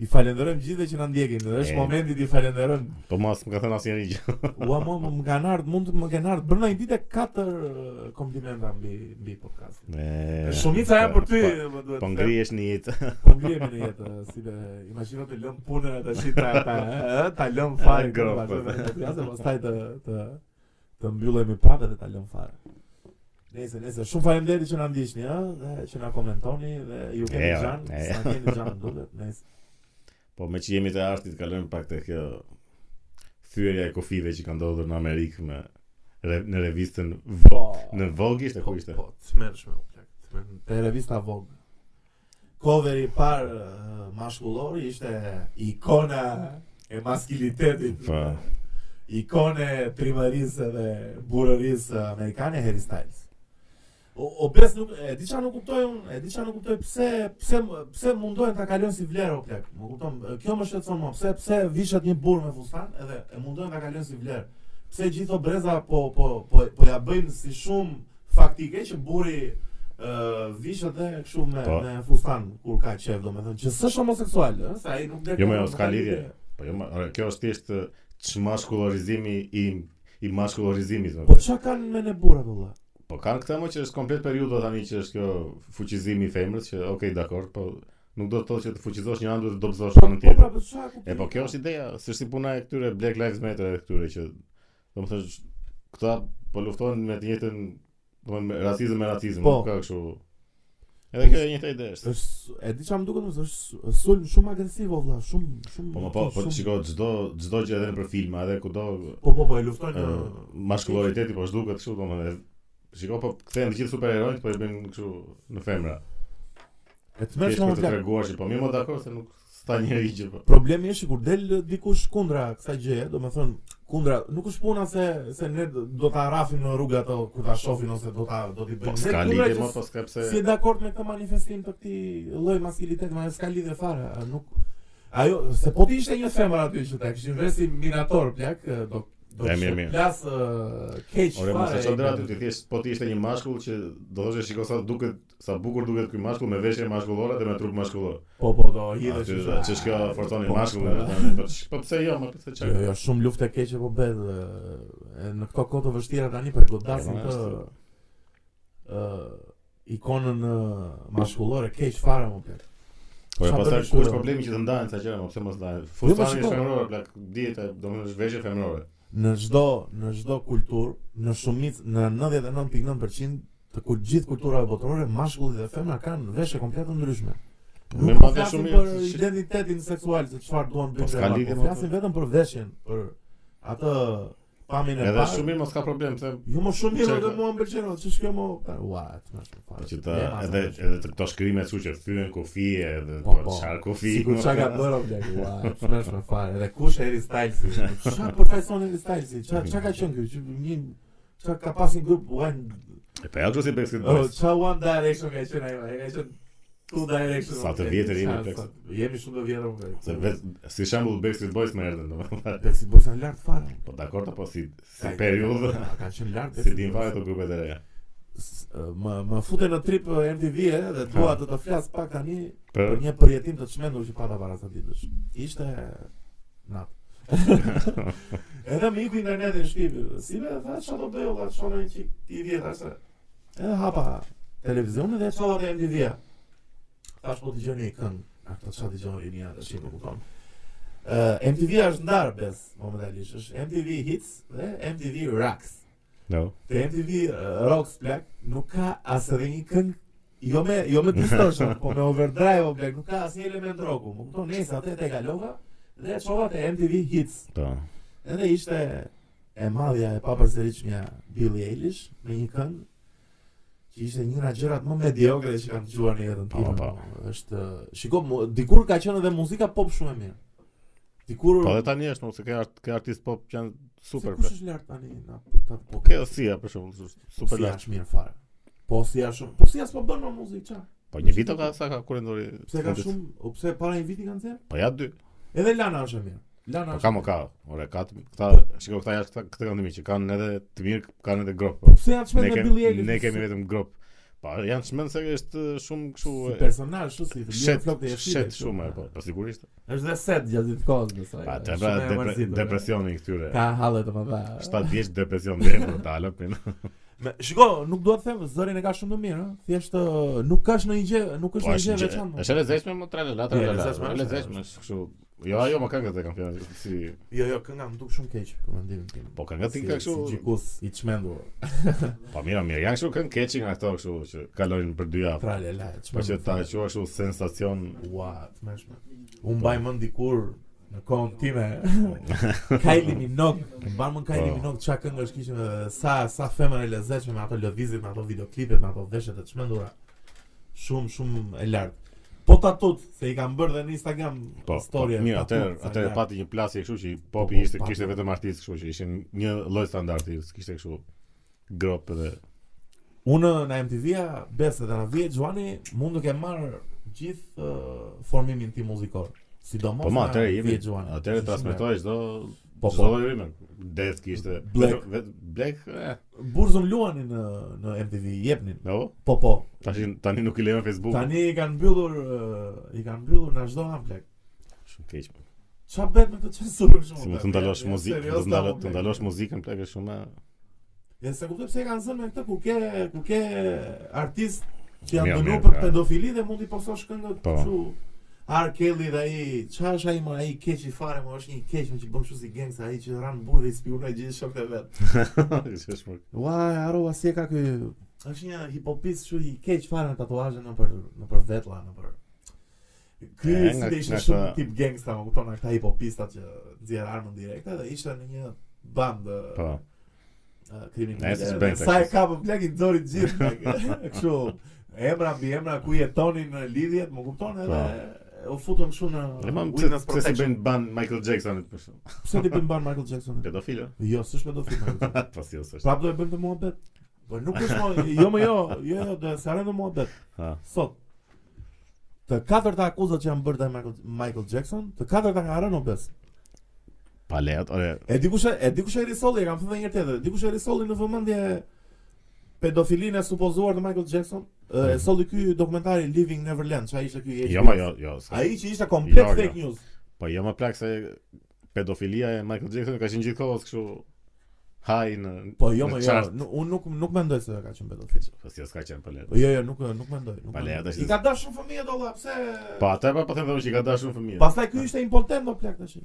S2: I falenderojmë gjithëve që na ndjekin. Dhe
S1: E.
S2: është momenti të i falenderojmë.
S1: Po mas më ka thënë asnjëri gjë.
S2: Ua mo më më kanë ardhur, mund të më kanë ardhur brenda një dite katër e, komplimenta mbi mbi podcastin.
S1: E,
S2: Shumica janë për ty,
S1: po-
S2: më duhet.
S1: Po
S2: të them.
S1: ngrihesh në jetë. *laughs*
S2: Po vjemi në jetë, si be, imagino të lëm punën atë shi ta, ta, ë, ta lëm fare.
S1: E, gropë.
S2: Jasë, pastaj të, të, të mbyllemi prapë dhe ta lëm fare. Nëse, nëse, shumë faleminderit që na ndiqni, ë, dhe që na komentoni dhe ju keni
S1: E, o,
S2: xhan,
S1: e.
S2: sa keni xhan duhet,
S1: *laughs*
S2: nëse.
S1: Po me që jemi të artit kalojmë pak të kjo thyerja e kofive që ka ndodhur në Amerikë me re, në revistën Vo- Po, në Vogue ishte ku ishte.
S2: Po, tmerrshme u plak. tmerrshme. Te revista Vogue. Coveri i parë ë, maskullor ishte ikona e maskilitetit.
S1: Po.
S2: ikone primarisë dhe burërisë amerikane Harry Styles. O, o bes nuk e di çfarë nuk kuptoj unë, e di çfarë nuk kuptoj pse pse pse mundohen ta kalojnë si vlerë o plak. Më kupton, kjo më shqetëson mua. Pse pse vishet një burr me fustan edhe e mundohen ta kalojnë si vlerë. Pse gjithë o breza po po po po ja bëjnë si shumë faktike që burri ë vishet dhe kështu me
S1: Po.
S2: me fustan kur ka qef domethënë që s'është homoseksual, ëh, se ai nuk
S1: Jo, më jo, s'ka lidhje. Po jo, ma- ore, kjo është thjesht ë, çmaskullorizimi i i maskullorizimit. më
S2: Po
S1: thënë.
S2: çka kanë me ne burrat valla?
S1: Po kanë këtë më që është komplet periudha tani që është kjo fuqizimi i femrës që okay, dakor, po nuk do të thotë që të fuqizosh një anë duhet të dobëzosh anën
S2: Po pra,
S1: tjetër.
S2: po çfarë kuptimi
S1: E po kjo është ideja, s'është si puna e këtyre Black Lives Matter e këtyre që domethënë sh- këta po luftojnë me të njëjtën domethënë me racizëm me racizëm,
S2: Po.
S1: nuk ka kështu. Edhe kjo e njëjta ide është.
S2: është e di çam duket mos është sulm shumë agresiv o vlla, shumë shumë
S1: Po më po, po
S2: shumë-
S1: shiko çdo çdo gjë edhe nëpër filma, edhe kudo
S2: Po po po e luftojnë
S1: ë,
S2: ë,
S1: maskulloriteti po zhduket kështu domethënë. Shiko po kthehen të gjithë superherojt po e bëjnë kështu në femra.
S2: e
S1: Kesh
S2: tmerrshme
S1: për
S2: më
S1: të
S2: plak.
S1: treguar që po mirë më dakor se nuk sta njëri gjë po.
S2: Problemi është kur del dikush kundra kësaj gjëje, do të thonë kundra, nuk është puna se se ne do ta rrafim në rrugë ato kur ta shohin ose do ta do t'i
S1: Po
S2: bëjmë. Ne
S1: s'ka
S2: kundra
S1: lidhje
S2: që
S1: më po s'ka pse.
S2: Si e dakord me këtë manifestim të këtij lloj maskiliteti, më s'ka lidhje fare, a nuk ajo se po ti ishte një femër aty që ta kishin vresi minator plak, e, do do
S1: E, mirë, mirë.
S2: plas keq
S1: Ore mos e
S2: fare.
S1: çon aty ti thjesht po ti ishte një mashkull që do thoshte shiko sa duket sa bukur duket ky mashkull me veshje maskullore dhe me trup maskullor.
S2: Po po do hidhesh.
S1: Aty
S2: kështu.
S1: ç'është kjo forconi
S2: Po,
S1: mashkull
S2: po.
S1: dhe tani, po ç- po pse jo, më pse
S2: Jo,
S1: çaj.
S2: jo, shumë luftë e keqe po bëhet e, e, në këto kohë të vështira tani për godasin
S1: Jo,
S2: të
S1: është.
S2: ë ikonën ë, maskullore keq fare më plot.
S1: Po e
S2: Sa
S1: pastaj ku
S2: bëni
S1: është
S2: kështu?
S1: problemi që të ndahen sa gjëra, mo pse mos ndahen.
S2: Jo, po,
S1: Fustani
S2: shiko.
S1: është femërore, plak dieta, domethënë është veshje femërore.
S2: Në çdo në çdo kulturë, në shumicë në 99.9% të ku gjithë kulturave botërore, mashkulli dhe femra kanë veshje komplet të ndryshme.
S1: Me
S2: Nuk po
S1: madhe
S2: flasim
S1: shumë
S2: për
S1: mirë, që-
S2: identitetin seksual se çfarë duan
S1: Po,
S2: bëjnë.
S1: s'ka
S2: femrat,
S1: lidhje me
S2: po flasim vetëm për veshjen, për atë pamjen e
S1: Edhe
S2: parë.
S1: shumë mirë mos ka problem pse
S2: Jo më shumë mirë
S1: Çeka.
S2: edhe mua më pëlqen, o, ç'është kjo më? Ua, të më shumë fare.
S1: që ta
S2: Jema, sa
S1: edhe
S2: më shumë.
S1: edhe të këto shkrime kështu që thyen kufi edhe
S2: Po,
S1: po
S2: po.
S1: çar kufi.
S2: Sikur
S1: mo,
S2: çka ka
S1: plak.
S2: bërë o
S1: *laughs*
S2: blek, ua, të më shumë fare. Edhe kush Harry Styles? Çfarë përfaqëson Harry Styles? Ç'a ç'a ka qenë ky? Që Një ç'a ka pasin grup One
S1: E po ja kështu si Backstreet
S2: oh,
S1: Boys.
S2: ç'a One Direction ka qenë ajo? Ai ka qenë Two Direction.
S1: Sa
S2: o,
S1: të
S2: blek,
S1: vjetër jemi,
S2: sa-
S1: plek.
S2: sa- Jemi shumë të vjetër po. o blek.
S1: Se vet si shembull Backstreet Boys më erdhën domethënë.
S2: Pepsi Boys janë lart fare.
S1: Po dakor apo si si
S2: Ai-
S1: periudhë
S2: A, Kanë qenë
S1: *laughs*
S2: lart.
S1: si
S2: Backstreet
S1: din
S2: Boys.
S1: fare të grupet e reja.
S2: S- Më më fute në trip eh, MTV e dhe dua të të flas pak tani
S1: Për
S2: për Po, një përjetim të çmendur që pata para sa ditësh. Ishte nat. *laughs* edhe më iku interneti në shtëpi. Si më tha çfarë do bëj olla, shona një çik TV tash. E hapa televizionin dhe çova te MTV-a. Tash po dëgjoni këngë. A këtë çfarë dëgjoni një tash më kupton. Ë MTV është ndar bes momentalisht. Është MTV Hits dhe MTV Rocks.
S1: no.
S2: Te MTV uh, Rocks Black nuk ka as edhe një këngë jo me jo me distortion, po me overdrive o Black, nuk ka asnjë element rocku. Më kupton, nesër atë te kalova dhe e çova te MTV Hits.
S1: Po.
S2: Edhe ishte e madhja e papërsëritshmja Billie Eilish me një këngë që ishte një nga gjërat më mediokre që kam dëgjuar në jetën
S1: Po,
S2: time.
S1: po.
S2: Është, shiko, mu- dikur ka qenë edhe muzika pop shumë e mirë. Dikur
S1: Po dhe tani është mos ke art ke artist pop që janë super.
S2: Se
S1: pra.
S2: kush është lart tani? Na, ta,
S1: Po ke Sia për shembull, është
S2: Po
S1: super
S2: si
S1: lart.
S2: jash mirë fare. Po si jash shumë. Po si jash po bën më muzikë ça?
S1: Po një vit o ka sa ka kurendori.
S2: Pse ka shumë, o pse para një viti kanë thënë?
S1: Po ja dy.
S2: Edhe Lana është e mirë.
S1: Po
S2: Lana është.
S1: ka më ka. Ore ka të- këta shiko këta jashtë këta- këta kanë të mirë që kanë edhe të mirë kanë edhe grop.
S2: Po pse janë
S1: Ne
S2: çmendur me Billie
S1: kemi
S2: Eilish?
S1: ne kemi vetëm grop. Po janë çmend se është shumë kështu
S2: si
S1: e,
S2: personazh kështu si Billie
S1: shet
S2: në flokët e jeshile.
S1: shet shumë e, po, po sigurisht.
S2: Është dhe set gjatë gjithë kohës besoj.
S1: Pa, të pra depre- depresioni i këtyre.
S2: Ka hallet më dha.
S1: 7 vjeç depresion dhe do të dalë pin.
S2: Shiko, nuk dua të them, zërin e ka shumë të mirë, ëh. Thjesht ë, nuk ka asnjë gjë, nuk është një gjë veçantë.
S1: Po, Është e lezetshme më trajë la
S2: Jo,
S1: trajë
S2: e
S1: la.
S2: lezetshme
S1: Është e
S2: është,
S1: lezetshme është kështu. Jo, jo, më këngët e kam fjalë si
S2: Jo, jo, kënga më duk shumë keq për mendimin tim.
S1: po këngët i
S2: Si-
S1: ka
S2: si
S1: kështu.
S2: gjikus i çmendur.
S1: Po mira, mirë, janë kështu këngë keqi nga ato kështu që kalojnë për dy javë.
S2: Tra le la.
S1: Po që ta quaj kështu sensacion.
S2: Ua, të mëshme. Unë mbaj mend dikur në kohën
S1: *laughs*
S2: time. Kylie Minogue, më mban mend Kylie
S1: Po.
S2: Minogue çka këngë është kishin dhe sa sa femër e lezetshme me ato lëvizjet, me ato videoklipet, me ato veshjet e çmendura. Shumë shumë e lartë. Po tatut, se i kam bërë dhe në Instagram
S1: Po, po
S2: story.
S1: mirë,
S2: tatut,
S1: atëherë
S2: sa
S1: atëherë
S2: lartë.
S1: pati një plasje kështu që
S2: Po,
S1: popi
S2: po,
S1: ishte
S2: pati.
S1: kishte vetëm artist kështu që ishin një lloj standardi, kishte kështu grop edhe
S2: Unë në MTV-a, besë dhe në vjetë, Gjuani, mund të kem marrë gjithë ë, formimin tim muzikor. Sidomos
S1: Po ma
S2: nga
S1: atëherë jemi
S2: vjetë, Gjuani.
S1: atëherë
S2: Ishim
S1: transmetoj çdo
S2: Po,
S1: çdo
S2: po.
S1: lloj rime. Death kishte
S2: Black.
S1: vetëm- vetëm Black. eh,
S2: Burzum luani në, në MTV, jepnin.
S1: Jo.
S2: Po, po,
S1: Tashi tani nuk i lejon Facebook.
S2: Tani i kanë mbyllur ë, i kanë mbyllur në çdo anë plak.
S1: Shumë keq. po.
S2: Ç'a bëhet me këtë censurën shumë?
S1: Si mund
S2: plak?
S1: të ndalosh
S2: Ja,
S1: muzikë,
S2: serios,
S1: të ndalosh
S2: ta,
S1: të
S2: plak.
S1: ndalosh muzikën plagë shumë. e-
S2: Dhe se kuptoj pse e kanë zënë me këtë kur ke kur ke artist që janë
S1: Mirë,
S2: dënuar
S1: mirë,
S2: për
S1: pra.
S2: pedofili dhe mund i pososh këngët
S1: Po.
S2: kështu. R. Kelly dhe ai, çfarë është ai më ai keq i fare, më është një keq më që bën kështu si gangsta ai që ran në burrë dhe i spionoi gjithë shokët e vet.
S1: *laughs* Që është më-
S2: Ua, harova si e ka ky. Është një hipopis kështu i keq fare me tatuazhe nëpër nëpër vetlla, nëpër Ky
S1: E,
S2: si
S1: nga-
S2: të ishte
S1: nga
S2: shumë
S1: këta-
S2: tip gangsta, më kupton, nga këta hipopistat që nxjerrin armën direkte dhe ishte në një bandë
S1: Po.
S2: kriminale.
S1: Ne s'është bëjnë
S2: Sa e
S1: taksi.
S2: ka për plak i dori të gjithë. plak. *laughs* Kështu emra mbi emra ku jetonin në lidhjet, më kupton edhe u futëm kështu në
S1: E mam pse
S2: Ah, witness
S1: pse si
S2: protection.
S1: bën ban Michael Jackson për shkak.
S2: Pse ti bën ban Michael Jackson?
S1: Pedofilë?
S2: *laughs* Jo, s'është me do film.
S1: Po si ose është.
S2: Prap do e bën të muhabet. Po nuk është mo, jo më jo, jo jo, do sa rëndë muhabet.
S1: Ha.
S2: Sot të katërta akuzat që janë bërë ndaj Michael, Michael Jackson, të katërta kanë rënë obes.
S1: Pa leat, ore.
S2: E dikush e e dikush e risolli, e kam thënë një herë tjetër. Dikush e risolli në vëmendje pedofilinë e supozuar të Michael Jackson. E
S1: Mhm.
S2: solli ky dokumentari Living Neverland, çka ishte ky
S1: Jo, ma jo, jo. s'ka.
S2: Ai që ishte komplet
S1: Jo, jo.
S2: fake news.
S1: Po jo më plak se pedofilia e Michael Jackson ka qenë gjithkohës kështu haj në
S2: Po jo,
S1: në
S2: më jo,
S1: chart.
S2: nu- unë nuk nuk mendoj se ka qenë pedofil.
S1: Po si s'ka qenë palet.
S2: Po Jo, jo, nuk nuk mendoj. Nuk
S1: Pa, le,
S2: mendoj.
S1: tash-
S2: I ka dashur shumë fëmijë dolla, pse?
S1: Po ata pa po them vetëm që i ka dashur fëmijë.
S2: Pastaj ky ishte impotent do plak *laughs* tash.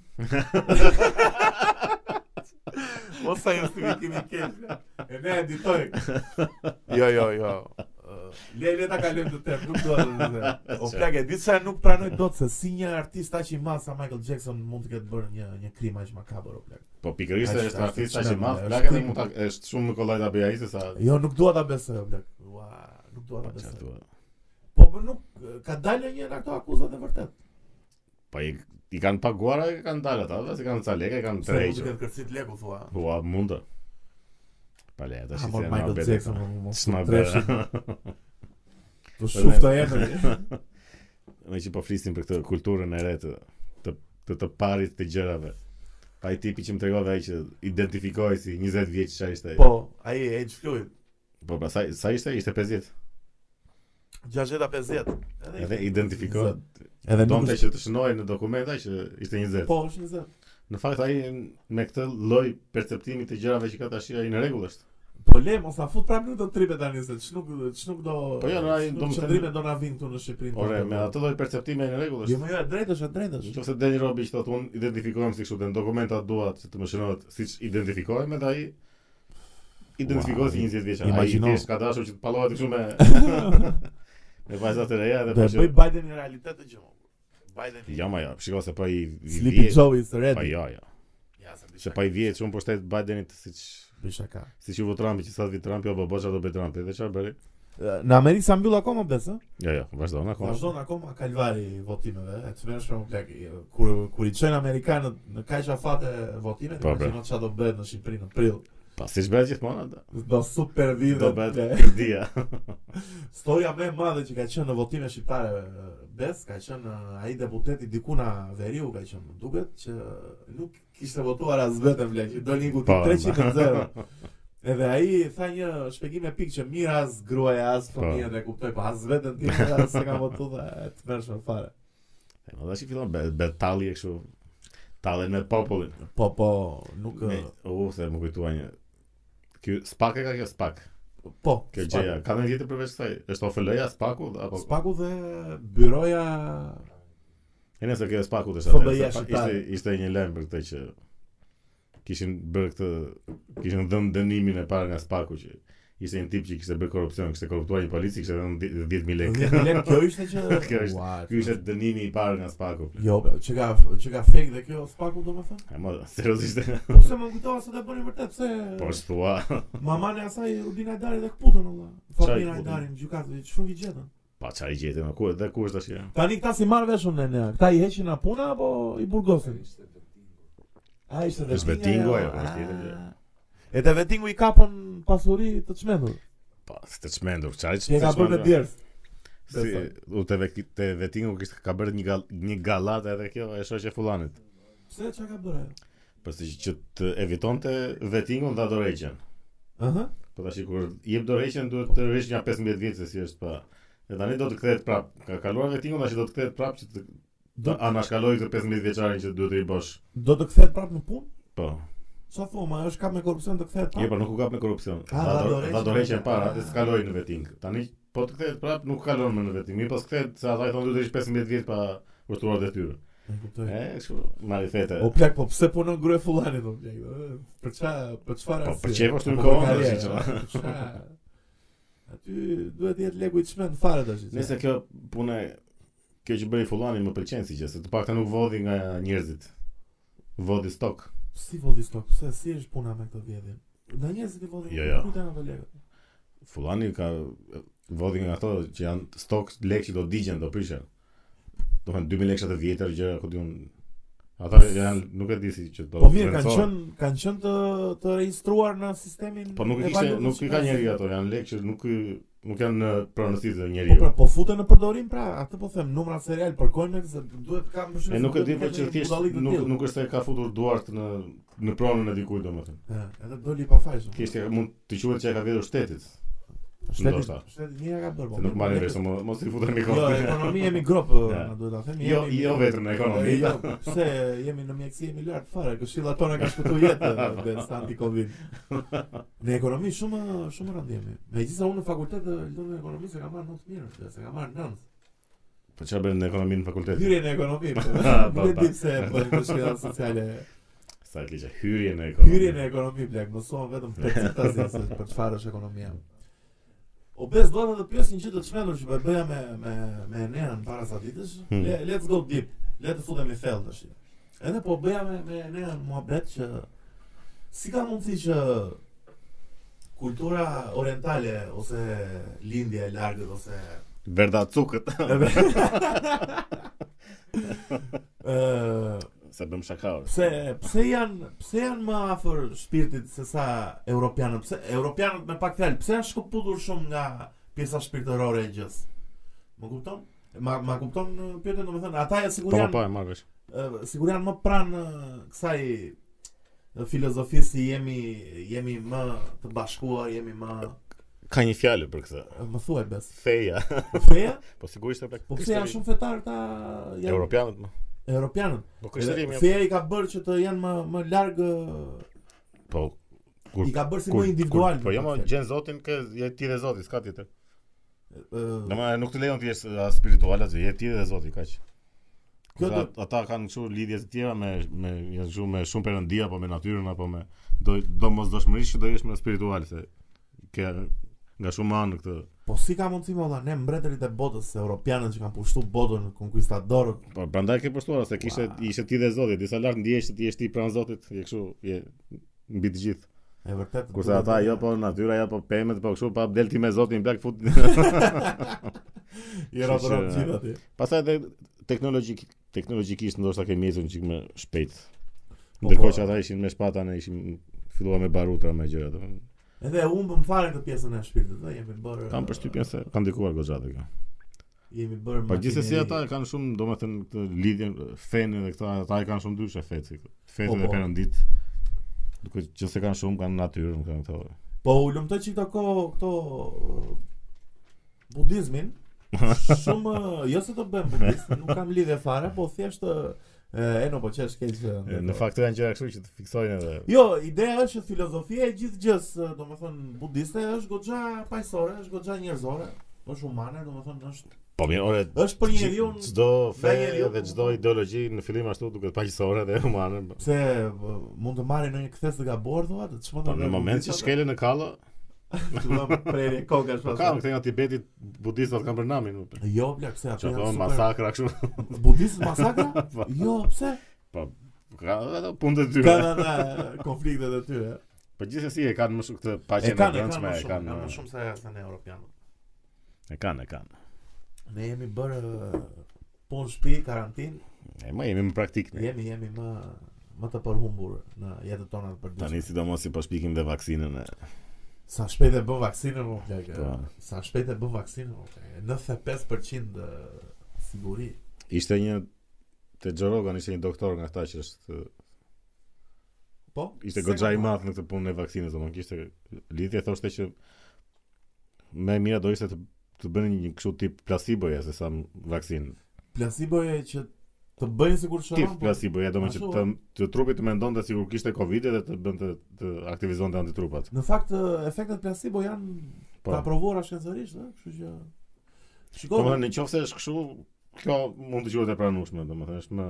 S2: Mos po, sa justifikim i keq. le. E ne editoj. Jo, jo, *laughs* jo. Ë, Le le ta kalojmë të tem, nuk do të them. O plak e di se nuk pranoj dot Pra, se si një artist aq i madh sa Michael Jackson mund të ketë bërë një një krim aq makabër o plak.
S1: Po pikërisht
S2: Ai
S1: është
S2: është-
S1: artist
S2: është
S1: aq i
S2: shumë
S1: madh,
S2: e-
S1: plak
S2: është
S1: edhe mund ta është shumë më kollaj ta bëj ai se sa
S2: Jo, nuk dua ta besoj o plak. Ua, nuk dua ta
S1: Po, çfarë
S2: besoj.
S1: thua?
S2: Po po nuk ka dalë një nga ato akuzat e vërtet.
S1: Po i, i kanë paguar, e kanë dalë ata, dhe si kanë ca lekë, e kanë
S2: Se mund të
S1: tërhequr.
S2: ketë kërcit leku thua.
S1: Ua, mundë. Pa le, ata
S2: Ah,
S1: si
S2: mor
S1: se nga
S2: Michael
S1: bete.
S2: Jackson, më- mos
S1: S'ma
S2: të
S1: bëra.
S2: treshin. Të shuf të emri.
S1: Me që po flisim për këtë kulturën e re të të, të, të parit të gjërave. Pa i tipi që më tregove ai që identifikoi si 20 vjeç çfarë ishte. ai.
S2: *laughs* Po, ai e Age Floyd,
S1: po pra, sa, sa ishte? Ishte 50.
S2: 60-50.
S1: Edhe identifikoi.
S2: Zot. Edhe nuk
S1: Donte
S2: është.
S1: që të shënohej në dokumenta që ishte 20.
S2: Po, është një zë.
S1: Në fakt ai me këtë lloj perceptimi të gjërave që ka tash ai në rregull është.
S2: Po le, mos ta fut prapë në të tripe tani se ç'nuk ç'nuk do.
S1: Po jo, na- do më thënë-
S2: çndrime do na vinë këtu në Shqipëri.
S1: Ore, me atë lloj perceptimi ai në rregull
S2: Jo,
S1: është.
S2: më jo, e drejtë është, e drejtë
S1: Në
S2: është.
S1: qoftë se Deni Robi që thotë unë identifikohem si kështu dhe në dokumenta dua që të më shënohet siç identifikohem edhe ai identifikohet si
S2: Wow,
S1: 20 vjeç. Ai
S2: imagjino.
S1: thjesht ka dashur që të pallohet kështu me
S2: *laughs*
S1: me vajzat e reja
S2: Do
S1: dhe
S2: e bëj
S1: po
S2: Biden një realitet të gjë. mo. Biden.
S1: që jo ma jo, shiko se po i i
S2: Sleepy
S1: vjet.
S2: Joe is
S1: Po
S2: ready.
S1: jo jo.
S2: Ja, se
S1: Se
S2: bisha.
S1: po i vjet shumë po shtet Bidenit siç
S2: Bisha ka.
S1: siç u vë Trumpi që sa vi Trumpi apo boça do bëj Trumpi. Dhe po çfarë bëri?
S2: Në Amerikë sa mbyll akoma besë?
S1: Jo jo, vazhdon akoma.
S2: Vazhdon akoma kalvari i votimeve, e të mërshme më plak, i- kur, kur i qënë Amerikanët në kaq afate votimet,
S1: Po,
S2: po,
S1: bre.
S2: imagino që do bëhet në Shqipëri në prill.
S1: Pa siç bëhet gjithmonë ata.
S2: Do super vidhe,
S1: Do bëhet
S2: ble. *laughs*
S1: kërdia.
S2: Storia më e madhe që ka qenë në votime shqiptare e, bes, ka qenë e, ai deputeti diku na veriu ka qenë, më duket që nuk kishte votuar as vetëm ble, që doli ku
S1: Po,
S2: 300. Edhe ai tha një shpjegim epik që mirë as gruaja as
S1: Po.
S2: fëmia dhe kuptoj pa as veten ti as se ka votuar e të mërshme fare.
S1: E më dashi fillon be- betalje kështu tallen me popullin.
S2: Po, po, nuk...
S1: Me,
S2: eh,
S1: u, se më kujtua një Ky spak e ka kjo spak
S2: Po,
S1: Kjo
S2: Spaku.
S1: gjeja, ka po. në tjetër përveç kësaj është ofl-ja, spaku dhe- apo
S2: Spaku dhe byroja...
S1: E nëse kjo spaku të
S2: FBI
S1: ishte
S2: shqiptare.
S1: Ishte një lajm për këtë që Kishin bërë këtë Kishin dhënë dënimin e parë nga spaku që Ishte një tip që kishte bërë korrupsion, kishte korruptuar një polici, kishte dhënë 10 10.000 lekë.
S2: Lek, kjo ishte që...
S1: Kjo ishte-
S2: Ua,
S1: *laughs* Ky ishte dënimi i parë nga spaku.
S2: Jo, be, që ka, që ka fake dhe kjo Spaku do më thënë?
S1: E mo,
S2: *laughs*
S1: seriozisht.
S2: Po pse më kujtova se të bëni vërtet, pse...
S1: Po shtua.
S2: Mamane asaj Udin Ajdari dhe këputën, Allah.
S1: Çaj
S2: Fatin
S1: kputën?
S2: Ajdari në gjukatë, që shumë i gjetën.
S1: Pa çfarë i gjeti, ma ku dhe ku është tash? ja?
S2: Tani këta si marrë veshën në nea, këta i heqin nga puna, apo i burgosin? A, ishte
S1: Është vetingu,
S2: vetingu,
S1: ajo, po, është tjetër gjë.
S2: E te vetingu i kapën pasuri të çmendur.
S1: Pa, Po, s'të çmendur, çfarë?
S2: Që e ka
S1: të
S2: bërë me
S1: çmendur?
S2: djerës.
S1: Si, u te, ve, te vetingu kishte ka bërë një, gal, një galat edhe kjo e shoqe fullanit.
S2: Pse çka ka bërë ajo?
S1: Pasi që të evitonte vetingun dha dorëqen.
S2: Aha.
S1: Po tash kur jep dorëqen duhet të rish nga 15 vjeç se si është pa. Dhe tani do të kthehet prap. Ka kaluar vetingun tash do të kthehet prap që të do anashkaloj këtë 15 vjeçarin që duhet të i bosh.
S2: Do të kthehet prapë në punë?
S1: Po.
S2: Çfarë thoma, është kap me korrupsion të kthehet
S1: Jo,
S2: pa.
S1: por nuk u kap me korrupsion.
S2: Ah,
S1: Dha
S2: dha
S1: do-
S2: dorëqe.
S1: dha dorëqe para, të skaloi në veting. Tani po të kthehet prap nuk kalon më në veting. Mirë, po kthehet se ata i thonë duhet të 15 vjet pa vërtuar detyrë.
S2: E kuptoj.
S1: E, kështu marifete.
S2: O plak, po pse punon grye fullani do plak? do, e, Për ça, për çfarë?
S1: Po,
S2: arsye?
S1: për çfarë po shtyn
S2: Apo
S1: kohën,
S2: karrierë,
S1: tash, çfarë?
S2: a, për çfarë? Aty duhet të jetë leku i çmend fare tash. çfarë?
S1: Nëse kjo punë kjo që bëri fullani më pëlqen si gjë, se të paktën nuk vodhi nga njerëzit. Vodhi stok.
S2: si vodi stok, pse si është puna me këtë vjedhje? Da njerëzit i vodi.
S1: Jo, jo.
S2: Kujt janë ato lekët?
S1: Fullani ka vodhi nga ato që janë stok lekë që do digjen, do prishen. Do të thënë 2000 lekë të vjetër gjëra ku diun Ata janë nuk e di si që do.
S2: Po mirë, kanë
S1: vlerësohen.
S2: qenë kanë qenë të të regjistruar në sistemin
S1: Po nuk
S2: e
S1: e kishte,
S2: valutës Po,
S1: nuk i ka
S2: shqiptare.
S1: njeri ato, janë lekë që nuk i- nuk janë në pronësitë e
S2: Po pra,
S1: njeriu.
S2: po futen në përdorim pra, atë po them, numrat serial përkojnë se duhet kam
S1: E
S2: për shembull.
S1: nuk e di po që thjesht nuk nuk është se ka futur duart në në pronën e dikujt domethënë.
S2: edhe doli pa fajshëm.
S1: Thjesht e- mund të quhet se e ka vjedhur shtetit.
S2: Shteti,
S1: ndoshta.
S2: shteti një ka bërë. po,
S1: Se nuk
S2: mirë,
S1: marrin
S2: lekët-
S1: vesh mos mos i futemi
S2: Jo,
S1: kohë.
S2: ekonomia jemi grop,
S1: Ja.
S2: na duhet ta themi.
S1: *laughs* Jo,
S2: jemi-
S1: jo vetëm në ekonomi.
S2: E, Jo, pse jemi në mjeksi jemi lart fare, këshilla tona ka shpëtuar
S1: *laughs*
S2: jetën dhe sa anti-covid. Në ekonomi shumë shumë rand jemi. Megjithëse unë në fakultet e lëndë ekonomi se kam marrë 9 mirë, se- se kam marrë 9.
S1: Po çfarë bën në ekonominë në fakultet?
S2: Hyrje në ekonomi. po,
S1: *laughs* Ah, po,
S2: Nuk e
S1: po.
S2: di pse bëjnë këshilla sociale.
S1: Sa e kisha hyrje në ekonomi.
S2: Hyrje në ekonomi plak, mësohem vetëm percentasin se për çfarë është ekonomia. O bes do të pyes një gjë të çmendur që po e bëja me me me Enerën para sa ditësh.
S1: Hmm.
S2: Le, let's go deep. Le të futemi thellë tash. Edhe po bëja me me Enerën muhabet që si ka mundësi që kultura orientale ose lindja e largët ose
S1: Verda cukët. *laughs*
S2: ë
S1: Sa bëm shaka. ore.
S2: Pse pse janë pse janë më afër shpirtit se sa europianët? Pse europianët me pak fjalë, pse janë shkëputur shumë nga pjesa shpirtërore e gjës? Më kupton? Ma ma kupton uh, pyetjen, domethënë ata
S1: Po
S2: janë sigur
S1: ma
S2: janë
S1: pa e marr vesh.
S2: ë, sigur janë më pranë ë, kësaj ë, filozofisë si jemi jemi më të bashkuar, jemi më uh,
S1: Ka një fjalë për këtë.
S2: më thuaj bes.
S1: Feja. *laughs*
S2: Feja?
S1: Po sigurisht e plak.
S2: Po pse janë shumë fetar ta janë
S1: europianët më.
S2: europianët?
S1: Po
S2: Edhe
S1: kushterimi.
S2: Feja i ka bërë që të janë më më larg ë,
S1: Po
S2: i ka bërë si
S1: Kur-
S2: më individual.
S1: kur- Po jo,
S2: më
S1: ma
S2: pak fjalë.
S1: gjen Zotin që je ti dhe Zoti, s'ka tjetër.
S2: Ë,
S1: Domethënë nuk të lejon ti jesh as spiritual as je ti dhe Zoti, kaq.
S2: Kjo
S1: Ata, ata kanë kështu lidhje të tjera me me janë kështu me shumë perëndi apo me natyrën apo me do do mos dëshmërisht që do jesh më spiritual se ke nga shumë anë këtë.
S2: Po si ka mundësi më valla, ne mbretërit e botës se europianët që kanë pushtu botën konkuistadorët.
S1: Po prandaj ke postuar se kishte
S2: Ua.
S1: ishte ti dhe Zoti, disa lart ndihesh se ti je ti pranë Zotit, je kështu je mbi të gjithë.
S2: E vërtet.
S1: Kurse
S2: duhet-
S1: ata jo po natyra, jo po pemet, po kështu pa del ti me Zotin plak fut. *laughs*
S2: i rroturon
S1: Kështu që-
S2: gjithë aty.
S1: Pastaj edhe teknologjik teknologjikisht ndoshta ke mjesun çik më shpejt.
S2: Po,
S1: Ndërkohë
S2: po.
S1: që ata ishin me shpata, ne ishim filluar me barutra me gjëra, domethënë.
S2: Edhe e umbëm fare këtë pjesën e shpirtit, dhe jemi bërë.
S1: Kam përshtypjen se kanë ndikuar goxha te kjo.
S2: jemi bërë.
S1: Po gjithsesi
S2: makineri.
S1: ata e kanë shumë, domethënë këtë lidhjen fenë dhe këta ata e kanë shumë dyshe feci.
S2: Po,
S1: Fetën
S2: po.
S1: e perëndit. Duke që se kanë shumë kanë natyrën kanë këto.
S2: Po u lumtoj që këto ko- këto ë, budizmin shumë ë, jo se të bëjmë budist, nuk kam lidhje fare, po thjesht ë, e no po qesh keq. ë,
S1: Në fakt janë gjëra kështu që të fiksojnë edhe.
S2: Jo, ideja është që filozofia e gjithë gjës, eh, domethënë budiste është goxha paqësore, është goxha njerëzore, është humane, domethënë është
S1: Po mirë, ore
S2: është për njeriu
S1: çdo fe
S2: nga njeriu-
S1: dhe çdo ideologji në fillim ashtu duket paqësore dhe humane. po.
S2: pse bë, mund të marrë në një kthes të gabuar thua, të çmend.
S1: Po në moment që shkelen në kallë, *laughs*
S2: fillon prerje kokash
S1: po kam këte nga Tibeti budistat kanë për namin. po.
S2: Jo, bla, pse ato
S1: Që
S2: janë
S1: po
S2: super.
S1: masakra kështu. *laughs*
S2: Budistët masakra?
S1: Po.
S2: Jo,
S1: *laughs*
S2: pse?
S1: Ka edhe punë të tyre.
S2: Kanë ata konfliktet e tyre.
S1: Po gjithsesi e kanë më shumë këtë
S2: E
S1: paqen e
S2: kanë, e kanë
S1: brendshme,
S2: më
S1: e
S2: shumë,
S1: kanë
S2: kanë më shumë se se ne europianët.
S1: E kanë, e kanë.
S2: Ne jemi bërë eh, punë shtëpi, karantinë,
S1: E më jemi më praktik ne.
S2: jemi jemi më më të përhumbur në jetën tonë të përditshme.
S1: Tani sidomos i po shpikim dhe vaksinën e
S2: Sa shpejt e bën vaksinën më plak.
S1: Po.
S2: Sa shpejt e bën vaksinën më plak. 95% siguri.
S1: Ishte një te Joe Rogan ishte një doktor nga këta që është
S2: Po.
S1: ishte
S2: se
S1: goxha
S2: ka
S1: i
S2: marrë.
S1: madh në këtë punë e vaksinës, domthonjë kishte lidhje thoshte që më e mira do ishte të të bënin një kështu tip placeboje se sa m- vaksinë.
S2: Placebo e që të bëjnë sikur
S1: Tip
S2: shëron, po
S1: plasibo, ja domun që
S2: ashtu,
S1: të, të trupi të mendonte sikur kishte Covid dhe të bënte të aktivizonte antitrupat.
S2: në fakt ë, efektet placebo janë
S1: Po.
S2: të aprovuara shkencërisht, ëh, kështu që Shiko,
S1: Domethënë nëse është kështu, kjo mund të quhet e pranueshme, domethënë është më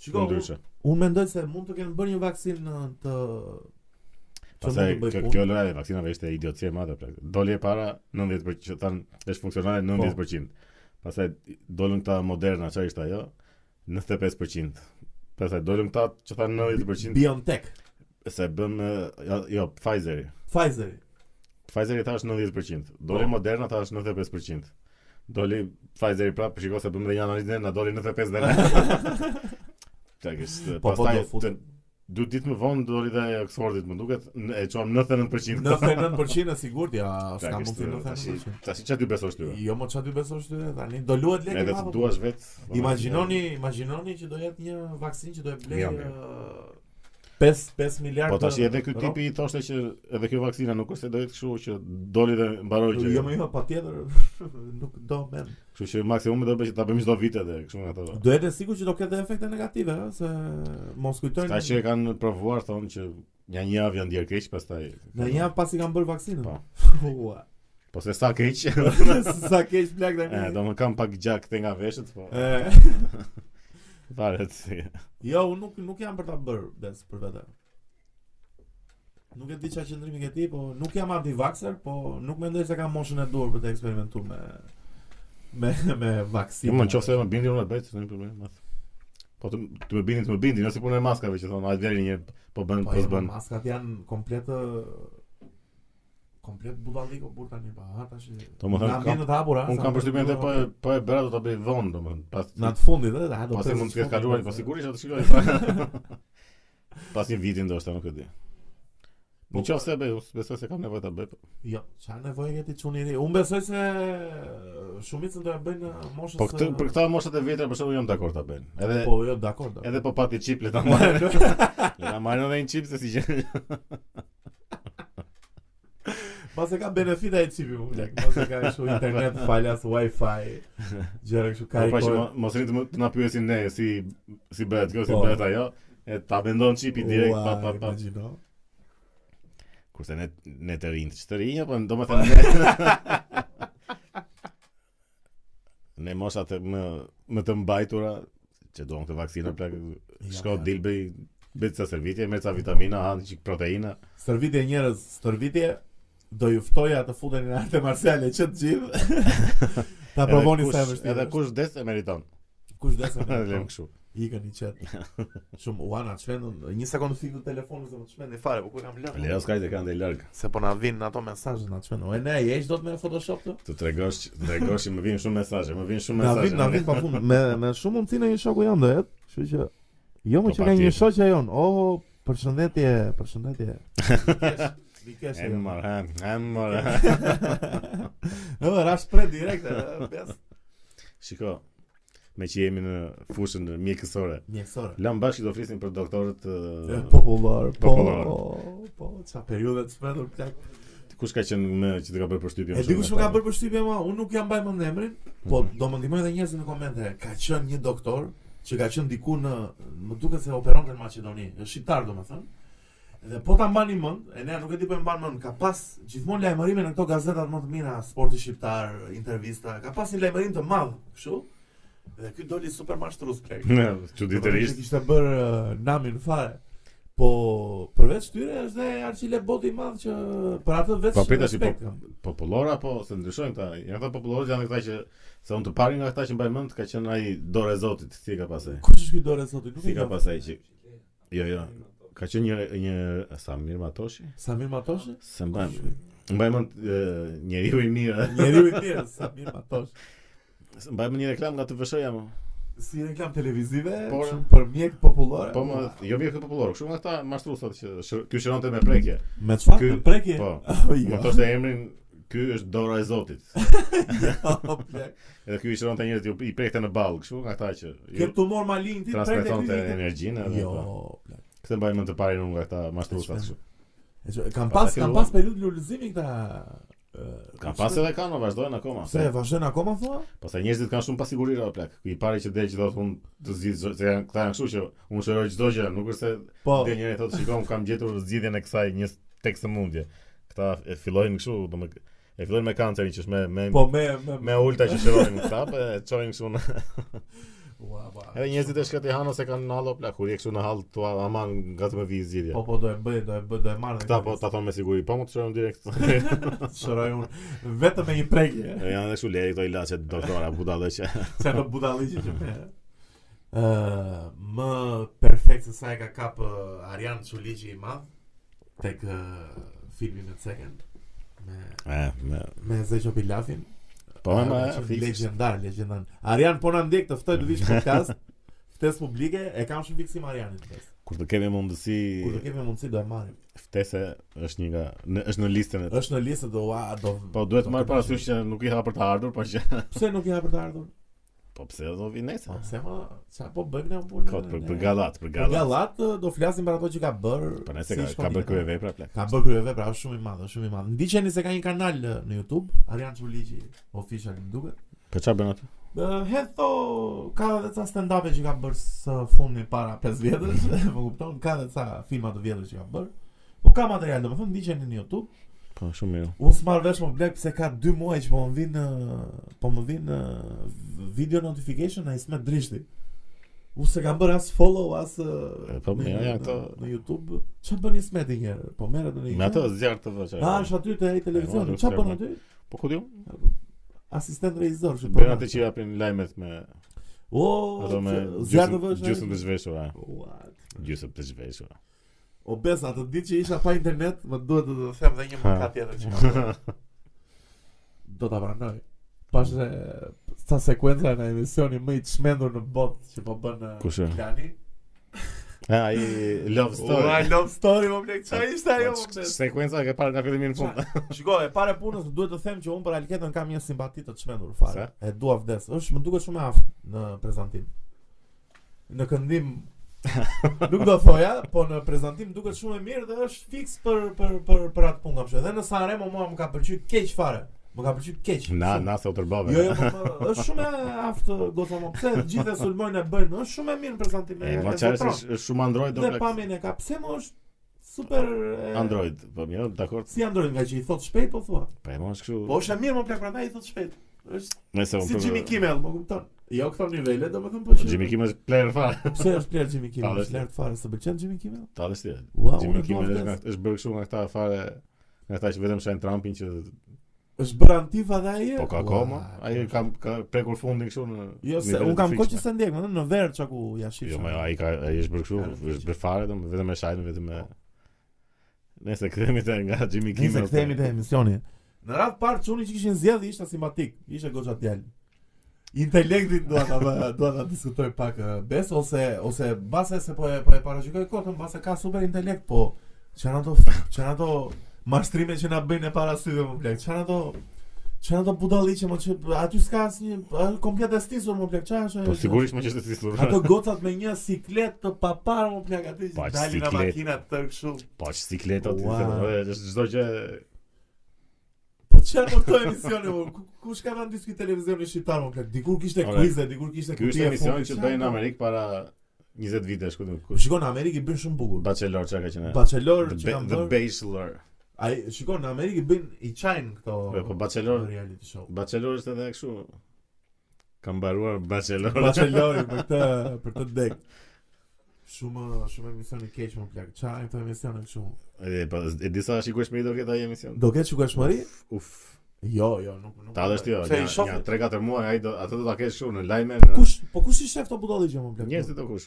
S2: shiko,
S1: më ndryshe.
S2: unë mendoj se mund të kenë bërë një vaksinë ë, të që mund
S1: Pastaj
S2: të bëj
S1: kjo,
S2: punë.
S1: kjo lojë e vaksinave ishte idiotie e madhe plak. Doli e para 90% që than është funksionale 90%. Pastaj dolën këta Moderna, çfarë ishte ajo? 95%. Pastaj dolën këta që than 90%
S2: BioNTech,
S1: se bën jo, jo Pfizeri.
S2: Pfizer,
S1: Pfizeri thash 90%, doli
S2: Po.
S1: Moderna thash 95%. Doli Pfizeri prapë, shikoj se bëm dhe një analizë, na doli 95
S2: *laughs*
S1: dhe ne. Tak është,
S2: Po, po,
S1: pastaj
S2: do fut.
S1: të du ditë më vonë doli dhe Oxfordit, më duket, n- e çon 99%. *laughs*
S2: 99% e sigurt, ja, s'ka
S1: Tak
S2: mundsi
S1: është, tash
S2: 99%.
S1: tash çfarë ti besosh ty?
S2: Jo, më çfarë dy besosh ty tani? Do luhet lekë.
S1: Edhe të
S2: madhe, po.
S1: duash vet.
S2: Imagjinoni, imagjinoni që do jetë një vaksinë që do e blej
S1: Mirë, mirë.
S2: ë, 5 5 miliardë.
S1: Po tash edhe ky
S2: ro?
S1: tipi i thoshte që edhe kjo vaksina nuk është se do jetë kështu që doli dhe mbaroi që.
S2: Jo, më jo, patjetër *laughs* nuk do men.
S1: Kështu që maksimumi do bëj që ta bëjmë çdo vit edhe kështu nga ato.
S2: Do jetë sigurt që do ketë efekte negative, ëh, se mos
S1: Ata
S2: kujtojnë.
S1: që e kanë provuar thonë që një një javë janë djerë keq, pastaj...
S2: Në një javë pasi kanë bërë vaksinën.
S1: Po.
S2: *laughs* Ua.
S1: Po se sa
S2: *laughs*
S1: keq,
S2: Sa keq
S1: *laughs*
S2: plak
S1: e,
S2: tani.
S1: do më kam pak gjak këte nga veshët, po
S2: E,
S1: varet si...
S2: Jo, unë nuk nuk jam për ta bërë bes për vete. Nuk e di çfarë qëndrimi ke ti, po nuk jam anti-vaxxer, po nuk mendoj se kam moshën e dur për të eksperimentuar me me me
S1: Jo,
S2: vaksinë.
S1: më në qofë se më bindin unë e bëjt, në një problem, math. Po të, të më bindin, të më bindin, nëse punë e maskave që thonë, ajtë veri një, po bën,
S2: Po
S1: po
S2: jo,
S1: s'bën.
S2: maskat janë komplet ë, komplet budalliko bur tani pa ha tash.
S1: Do më thënë,
S2: na
S1: Po, kam-
S2: vjen të hapur ha.
S1: Unë
S2: sa
S1: kam
S2: më-
S1: përshtypjen edhe po e, po e bëra do ta bëj vonë, domethënë. Pas
S2: në atë fundit ë, ha do.
S1: pasi
S2: pesë
S1: mund të ketë
S2: fundit,
S1: kaluar, po
S2: se-
S1: sigurisht atë
S2: *laughs*
S1: shikoj. Pas një viti ndoshta, nuk e di. Në qofë se bëj, unë besoj se kam nevojë ta bëj. po.
S2: Po, Jo, çfarë nevojë jeti çuni i ri? Unë besoj se shumicën do e bëjnë moshës.
S1: Po këtë
S2: ë,
S1: për këta moshat e vetra për shembull jam dakord ta bëjnë. Edhe
S2: Po jo, dakor, dakor.
S1: Edhe po pati chip le ta
S2: *laughs*
S1: marrë. le ta marrë edhe një chip se si gjë.
S2: Pas e ka benefita e qipi më plak Pas e ka kështu internet, faljas, wifi Gjera
S1: *laughs*
S2: kështu ka
S1: Po
S2: i
S1: pra që
S2: kohë
S1: mo- mos rini të më- të na pyesin ne si si bëhet kjo, si
S2: Po.
S1: bëhet ajo. E ta mendon chipi direkt pa pa pa.
S2: Imagjino
S1: Kurse ne ne të rinj, të rinj apo domethënë ne *laughs* ne moshat e më më të mbajtura që duan këtë vaksinë plak shko
S2: ja.
S1: dil bëj bëj ca servitje, merr ca vitamina, han çik proteina.
S2: Stërvitje njerëz, stërvitje Do ju ftoja të futen në arte marciale që të
S1: *laughs*
S2: gjithë Ta
S1: Edhe
S2: provoni
S1: kush-
S2: sa e vështirë
S1: Edhe
S2: është.
S1: kush des e
S2: *laughs*
S1: meriton.
S2: kush
S1: *laughs*
S2: desë
S1: Ne lëm kështu.
S2: Ikën i
S1: *laughs*
S2: qetë Shumë uana të shmendën Një sekundë fikë të telefonit se më të shmendën fare Po ku e kam lënë
S1: Lera skajt e kanë dhe larg.
S2: Se po na vinë ato mesazhet na të shmendën E ne, je do të me Photoshop të?
S1: Të tregosh, të tregosh, më vijnë shumë mesazhe, më vijnë shumë
S2: Na
S1: mesazhe.
S2: vit na vit pafund me me shumë mundësi në një shoku jon do jetë, kështu që jo
S1: Po,
S2: më që ka një
S1: patjetër.
S2: shoqja jon. Oh, përshëndetje, përshëndetje. *laughs* Bikesh.
S1: Em
S2: *laughs*
S1: mor, em, em mor.
S2: Në rash pret direkt, e, pes.
S1: Shiko, me që jemi në fushën mjekësore,
S2: Mjekësore.
S1: lam bashkë do flisim për doktorët
S2: E,
S1: ë,
S2: Popullor, po,
S1: Popullor.
S2: po, qa periudhe të shpendur plak.
S1: kush ka qenë më që të ka bërë përshtypje.
S2: E di kush më ka bërë përshtypje mua, unë nuk jam mbaj mend emrin, po do më ndihmojnë edhe njerëzit në komente. Ka qenë një doktor që ka qenë diku në, më duket se operonte në Maqedoni, është shqiptar domethënë. Dhe po ta mbani mend, e ne nuk e di po e mban mend, ka pas gjithmonë lajmërime në këto gazetat më të mira, sporti shqiptar, intervista, ka pas një lajmërim të madh, kështu. Dhe ky doli super mashtrues
S1: *laughs*
S2: plek.
S1: Çuditërisht.
S2: Kishte bër uh, namin fare. Po përveç tyre është dhe Arçile Boti i madh që për atë vetë
S1: Po pritash i po-
S2: kam.
S1: popullor apo se ndryshojnë ta. Janë ata popullorë janë këta që se unë të pari nga këta që mbaj mend ka qenë ai dorë e Zotit, si e ka pasaj.
S2: Kush është ky dore sot? Nuk
S1: Si ka
S2: e kam.
S1: pasaj që Jo, jo. Ka qenë një një Samir Matoshi?
S2: Samir Matoshi?
S1: Se mbaj mbaj mend ë, njeriu i mirë.
S2: Njeriu i mirë, Samir Matoshi.
S1: Mbaj mend një reklam nga TVSH-ja më.
S2: Si reklam televizive,
S1: Por-
S2: shumë për mjek popullore.
S1: Po më jo vjen këtë popullor, kështu nga këta mashtruesat që shë- ky shëronte me prekje.
S2: me çfarë
S1: Ky-
S2: me prekje?
S1: Po.
S2: Oh,
S1: Më
S2: *laughs* jo.
S1: *laughs* thoshte emrin, ky është dora e Zotit.
S2: Po, plak.
S1: Edhe ky i shëronte njerëz që i prekte në ball, kështu nga këta që
S2: Ke tumor malign ti prekje
S1: transmetonte
S2: klinikë.
S1: energjinë edhe.
S2: Jo,
S1: po.
S2: plak.
S1: Këtë mbaj mend të parin unë nga këta mashtruesat kështu.
S2: E që- Kam
S1: Pastaj
S2: pas kam
S1: filluan.
S2: pas periudhë lulëzimi këta ë,
S1: Ka pas edhe kanë, vazhdojnë akoma.
S2: Se vazhdon akoma thua?
S1: Pastaj Po njerëzit kanë shumë pasigurira plak. I pari që del që thotë unë të zgjidh çdo- se janë këta janë kështu që unë shëroj çdo gjë, nuk është se
S2: Po.
S1: del njëri thotë shikom kam gjetur zgjidhjen e kësaj një tek sëmundje. Këta e fillojnë kështu, domethënë e fillojnë me kancerin që është me me
S2: Po me me,
S1: me ulta që shërojnë këta, po e çojnë kështu në
S2: Ua, ba.
S1: edhe njerëzit e shkëti hanë ose kanë në hallo plak, kur je kështu në hall tua aman gati me vi zgjidhje.
S2: Po po do e bëj, do e bëj, do e marr. dhe
S1: Këta
S2: këtë
S1: po ta thon me siguri, po më të shërojmë direkt. *laughs*
S2: *laughs* shëroj unë vetëm me një prekje.
S1: E, Janë edhe kështu lejë këto ilaçe doktora, budallëqe.
S2: Se në budalliqe që me uh, Më perfekt se sa e ka kap uh, Arjan Quliqi i madh Tek uh, filmi me ceken Me,
S1: *laughs* E, me,
S2: me Zeqo Pilafin
S1: po më
S2: Që
S1: fiks.
S2: Legendar, legendar Arjan po na ndjek të ftoj të vish podcast Ftes publike e kam shumë fiksim Arjanit ftes.
S1: Kur të kemi mundësi
S2: Kur të kemi mundësi do e marrim.
S1: Ftese është një nga në, është në listën e
S2: Është në listë do ua do.
S1: Po duhet
S2: do
S1: të marr
S2: të
S1: parasysh që nuk i ha për të ardhur, po që
S2: Pse nuk ja për të ardhur?
S1: po pse do vi
S2: Po
S1: nesër?
S2: pse ma ça po bëjmë ne punë?
S1: Kot për për gallat, për
S2: Për
S1: gallat.
S2: gallat uh, do flasim për ato që ka bër.
S1: Po nëse
S2: si
S1: ka ka
S2: shkon
S1: bërë
S2: tjetër.
S1: krye vepra plak.
S2: Ka bërë kryeve, pra është shumë i madh, është shumë i madh. Ndiqeni se ka një kanal eh, në YouTube, Arjan Çuliqi official më duket.
S1: Po çfarë bën atë?
S2: Uh, Hetho ka edhe ca stand-upe që ka bërë së fundi para 5 vjetësh, *laughs* më kupton? Ka edhe ca filma të vjetër që ka bërë. Po ka material, domethënë ndiqeni në YouTube.
S1: Po shumë mirë.
S2: Unë s'marr vesh më blek pse ka 2 muaj që po më vin eh, po më vin eh, video notification ai smet drishti. Unë se kam bërë as follow as eh,
S1: E, po,
S2: në-
S1: mirë, janë
S2: në-
S1: këto-
S2: në YouTube. Ç'a bën Ismeti një herë? Po merret në një.
S1: Me atë zjarr të vë
S2: A,
S1: çfarë.
S2: është aty te ai televizioni.
S1: unë
S2: Çfarë bën
S1: nuk
S2: aty?
S1: Po ku diu?
S2: Asistent regjisor, që po.
S1: Bën atë që japin lajmet me
S2: O,
S1: ato me
S2: zjarë Po,
S1: gjysmë
S2: të vësh.
S1: gjysmë të zhveshura,
S2: What?
S1: gjysmë të zhveshura.
S2: O besa, atë ditë që isha pa internet, më duhet të të them dhe një mëkat tjetër që kam bërë. Do ta pranoj. Pashë sa sekuenca në emisioni më i çmendur në botë që po bën eh,
S1: Kush e?
S2: Lani.
S1: Ah,
S2: *laughs*
S1: ai love
S2: Ua,
S1: story. Po,
S2: love story, më blek, çfarë ishte ajo? më bes?
S1: Sekuenca që parë nga fillimi në fund.
S2: Shiko, e para e punës duhet të them që unë për Alketën kam një simpati të çmendur fare. E dua vdes. Është më duket shumë e aftë në prezantim. Në
S1: *laughs*
S2: këndim nuk do thoja, po në prezantim duket shumë e mirë dhe është fiks për për për për atë punë kamshë. Dhe në Sanremo mua më ka pëlqyer keq fare. Më ka pëlqyer keq.
S1: Na,
S2: shumë.
S1: na se u tërbave.
S2: Jo, jo, po, po, është shumë e aftë goca më. Pse të gjithë e sulmojnë e bëjnë? Është shumë e mirë në prezantim.
S1: E,
S2: jo, e-
S1: ma
S2: e
S1: çfarë
S2: zotron.
S1: është është shumë Android do
S2: Dhe
S1: plak.
S2: pamjen e ka. Pse më është super e-
S1: Android, po mirë, dakor.
S2: Si Android nga që i thot shpejt po thua.
S1: Po e mosh kështu.
S2: Po është e mirë më plak prandaj i thot shpejt. Është
S1: Nëse unë
S2: si
S1: për-
S2: Jimmy Kimmel, më kupton? Jo këto nivele, domethënë po që. Po,
S1: Jimmy Kimmel është player
S2: *laughs*
S1: fare.
S2: Pse është player Jimmy Kimmel?
S1: Tallest.
S2: Është lart fare, s'të pëlqen Jimmy Kimmel?
S1: Ta dhe shtje.
S2: Ua, unë
S1: Jimmy
S2: e
S1: Kimmel
S2: dua
S1: është nga
S2: vdes.
S1: është bërë kështu nga këta fare nga ata që vetëm shajnë Trumpin që
S2: Është bërë antifa dhe ai.
S1: po ka
S2: Ua,
S1: koma, ai ka ka prekur fundin kështu në
S2: Jo, se
S1: nivellet
S2: un kam
S1: të
S2: kohë që
S1: fikshme.
S2: se ndjek, më thënë, në verë çka ku ja shih.
S1: Jo, më ai ka ai është bërë kështu,
S2: Ka rëndësi
S1: është
S2: që-
S1: bërë fare dom, vetëm me shajnë, vetëm me Nëse kthehemi te nga Jimmy Kimmel.
S2: Nëse kthehemi te emisioni. Në radh parë çuni që kishin zgjedhë ishte simpatik, ishte goxha djalë. Intelektin dua ta dua ta diskutoj pak eh, bes ose ose mbase se po e po e paraqyjoj kotën, mbase ka super intelekt, po çan ato çan ato mashtrime që na bëjnë e para syve më blek. Çan ato çan ato budalliqe më që aty s'ka asnjë a, komplet e stisur më blek. Çfarë është?
S1: Po
S2: ajo?
S1: sigurisht më që është stisur.
S2: Ato gocat me një siklet të papar më plak aty
S1: Po, aq
S2: dalin nga
S1: siklet.
S2: makina të tërë kështu.
S1: Po që sikletat,
S2: Ua.
S1: është çdo gjë
S2: Po çfarë po këto emisione, mo? Ku- kush ka vënë diskut televizioni shqiptar më plak? Dikur kishte
S1: Ore,
S2: quize, dikur kishte
S1: Ky është
S2: e
S1: emisioni
S2: fundit,
S1: që
S2: çfarë
S1: bëjnë në
S2: ka?
S1: Amerikë para 20 vitesh, ku do
S2: Po Shikon në Amerikë i bën shumë bukur.
S1: Bachelor çka ka qenë.
S2: Bachelor
S1: The
S2: që
S1: Ba-
S2: kanë
S1: The
S2: bërë.
S1: Bachelor.
S2: Ai shikon në Amerikë i bën i çajin këto.
S1: Po, po, Bachelor.
S2: reality show.
S1: Bachelor është edhe kështu. Kam mbaruar *laughs* Bachelor.
S2: Bachelori për këtë për të dek. Shumë shumë emisione keq më plak. Çfarë këto emisione kështu?
S1: E, po, e disa sigurisht më i do këta emision.
S2: Do ketë shkueshmëri?
S1: Uf.
S2: Jo, jo, nuk nuk.
S1: Ta dhe shtjo,
S2: Se i
S1: ja
S2: shoh
S1: 3-4 muaj ai do atë do ta kesh shumë në lajme.
S2: kush, po kush i shef këto budalliqe më plak?
S1: Njerëzit do kush.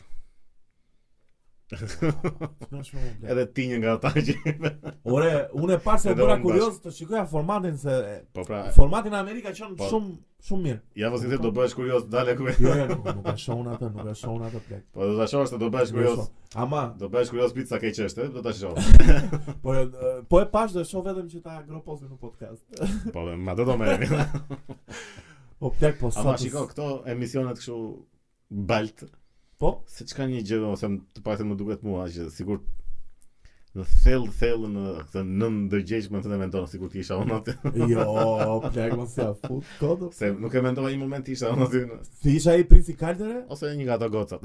S2: Nuk shumë më plak.
S1: Edhe ti një nga ata që
S2: Ore, unë e parë se
S1: Edhe
S2: bëra
S1: unë
S2: kurioz të shikoja formatin se
S1: Po pra,
S2: Formati në Amerika qënë
S1: Po.
S2: shumë, shumë *laughs* mirë.
S1: ja vazhdim do bësh kurioz dale ku.
S2: Jo, jo, nuk, nuk e shohun atë, nuk e shohun atë plek.
S1: Po do ta shohësh se do bësh
S2: Nuk e
S1: kurioz.
S2: shoh. Ama,
S1: Do bësh kurioz pizza keq është, e? do ta shoh.
S2: po, e, po e pash dhe shoh vetëm që ta agroposin në podcast.
S1: Po ma do do merremi.
S2: O plek, po sa
S1: Ama
S2: të-
S1: shiko këto emisionet kështu balt
S2: Po,
S1: se çka një gjë ose më- të paktën më duket mua që sikur në thellë thellë në këtë nën ndërgjegjshme të mendon sikur ti isha unë aty. *laughs*
S2: Jo, plak mos ja fut kodë.
S1: Se nuk e mendova një moment isha unë aty në-
S2: Ti isha ai princi kaltere?
S1: ose një nga ato gocat.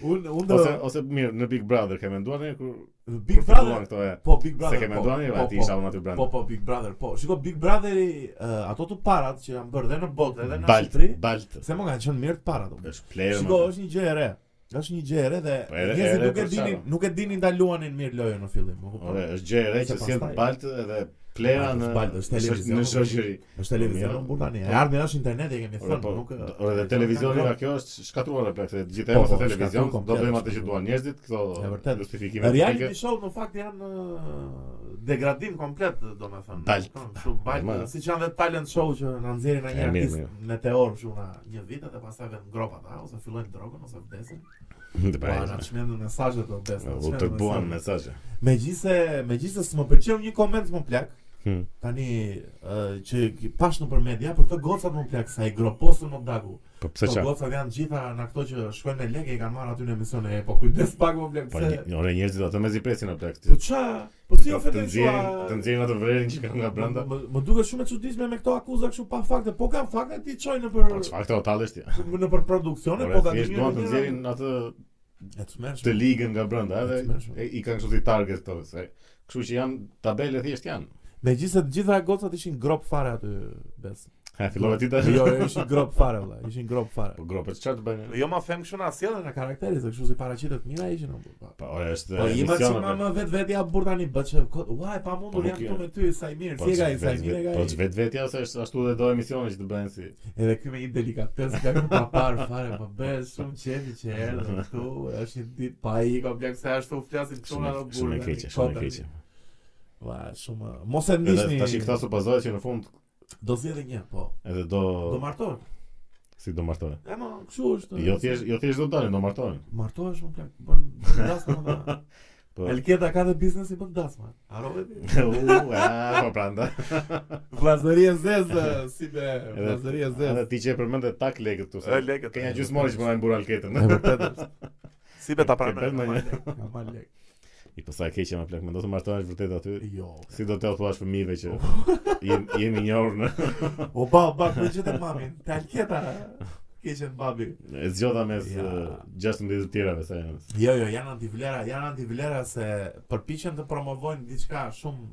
S2: Unë unë
S1: Ose
S2: *laughs* do
S1: ose mirë në Big Brother ke menduar ne kur
S2: Big
S1: kur
S2: Brother.
S1: filluan këto e.
S2: Po Big Brother.
S1: Se ke
S2: po,
S1: menduar ne
S2: po,
S1: aty
S2: po.
S1: isha unë aty brenda.
S2: Po po Big Brother, po. Shiko Big Brotheri, ë, ato të parat që janë bërë dhe në botë po, edhe në
S1: Balt,
S2: Shqipëri,
S1: Balt.
S2: se më kanë qenë mirë të parat. unë.
S1: Është player.
S2: Shiko,
S1: më.
S2: është një gjë e re. Është një gjë e re dhe
S1: Po, e re- e
S2: njerëzit
S1: re
S2: nuk e
S1: për
S2: dinin,
S1: çfarë?
S2: nuk e dinin ta luanin mirë lojën në fillim, e kupton?
S1: Ore, është gjë e re
S2: Se
S1: që sjell
S2: pastaj-
S1: Balt edhe playera
S2: Balt,
S1: në
S2: Balt, është televizion.
S1: në shoqëri.
S2: Është televizion
S1: Mirë.
S2: burr tani. E ardhmja është interneti, e kemi
S1: po. Ore,
S2: thënë,
S1: po,
S2: nuk. e-
S1: ore dhe televizioni nga kjo është shkatruar e plak, se gjithë e
S2: Po,
S1: mos e
S2: po,
S1: televizion, do
S2: shkatruar komplet,
S1: bëjmë atë që
S2: shkatruar.
S1: duan njerëzit,
S2: E
S1: këto
S2: vërtet.
S1: justifikime
S2: Reality show në fakt janë ë, degradim komplet, domethënë.
S1: Balt.
S2: Kështu
S1: Ma-
S2: balt, siç janë dhe talent show që na nxjerrin nga
S1: E, mirë,
S2: një artist
S1: mirë.
S2: meteor kështu na një vit dhe pastaj vjen ngrop ata ose fillojnë drogën ose vdesin. Po na
S1: show.
S2: çmendën mesazhe të vdesin. na
S1: U
S2: çmendën
S1: tërbuan
S2: mesazhe.
S1: mesazhe.
S2: Megjithse, megjithse s'më pëlqeu një koment më plak.
S1: Hmm.
S2: Tani ë, që ki- pash nëpër media për këto gocat më plak sa i groposën në dagu.
S1: Po pse
S2: Këto
S1: ça?
S2: gocat janë gjitha në këto që shkojnë me lekë i kanë marrë aty në emision e po kujdes pak më plak
S1: Po
S2: pse.
S1: një- ore njerëzit ato mezi presin në plak.
S2: Po ça? Po si
S1: Të
S2: ofendon
S1: nxjerrin, të
S2: shua?
S1: nxjerrin atë vrerin që kanë nga brenda.
S2: Më, më duket shumë e çuditshme me këto akuza kështu pa fakte, po kanë fakte ti çojnë nëpër
S1: Po çfarë këto tallësh ti?
S2: nëpër produksione,
S1: Ore
S2: po kanë
S1: thjesht duan të nxjerrin atë
S2: E çmendshme.
S1: të ligën nga brenda,
S2: E të mërshme.
S1: edhe e- i kanë kështu si target këto. se- Kështu që janë tabele thjesht janë.
S2: Megjithëse të gjitha gocat ishin grop fare aty
S1: *laughs*
S2: bes.
S1: Ha, fillova ti *laughs* tash.
S2: Jo, jo, ishin grop fare valla, ishin grop fare.
S1: Po gropet çfarë të bëjnë?
S2: Jo ma them kështu na sjellën e karakterit, se kështu si paraqitet mira ishin apo. po.
S1: Po ore është
S2: Po ima që
S1: emisione,
S2: ma
S1: plak.
S2: më vetë vetë ja burr tani bë që kot, ua e
S1: Po
S2: pamundur
S1: nuk
S2: jam
S1: je.
S2: këtu me ty sa i mirë,
S1: Po
S2: si e ka i sa i
S1: vetë-
S2: mirë e ka.
S1: Po
S2: i.
S1: vetë vetja se është ashtu dhe do emisione që të bëhen si.
S2: Edhe ky me një delikatesë ka këtu pa par fare, po bëhet shumë qefi
S1: *laughs*
S2: që erdhi këtu, është një ditë pa i kompleks se ashtu flasin çuna do
S1: Shumë
S2: burr.
S1: shumë e keqe, shumë e keqe.
S2: po, Va, shumë mos e
S1: Edhe
S2: ndiqni.
S1: tash i këta supozohet që në fund
S2: do zgjedhë një, po.
S1: edhe do
S2: Do martohen.
S1: si do martohen.
S2: E mo, kështu është.
S1: Jo thjesht jo thjesht do dalin, do
S2: *laughs*
S1: martohen.
S2: martohesh më plak, bën bën dasmë. më.
S1: *laughs* Po.
S2: Elketa ka dhe biznesi bën dasmë. Harove ti.
S1: U, a, po pranda.
S2: Vllazëri e zezë, *laughs* si be, vllazëri e zezë.
S1: Edhe ti që e përmende tak lekët këtu.
S2: E, lekët.
S1: Ke një gjysmori që punojnë burr alketën.
S2: E vërtet është. Si be ta
S1: Ke bërë
S2: pranoj.
S1: ndonjë?
S2: Ka mal lek.
S1: I po sa e keqe më plak, mendoj se martohesh vërtet aty.
S2: Jo.
S1: Si do të u thuash fëmijëve që
S2: Oh. *laughs*
S1: jem- jemi një orë në
S2: O ba, ba, ku gjithë mamin. Te alketa. Keqen babi.
S1: e zgjodha mes
S2: Ja.
S1: eh, 16 të tjerave sa janë.
S2: Jo, jo, janë antivlera, janë antivlera se përpiqen të promovojnë diçka shumë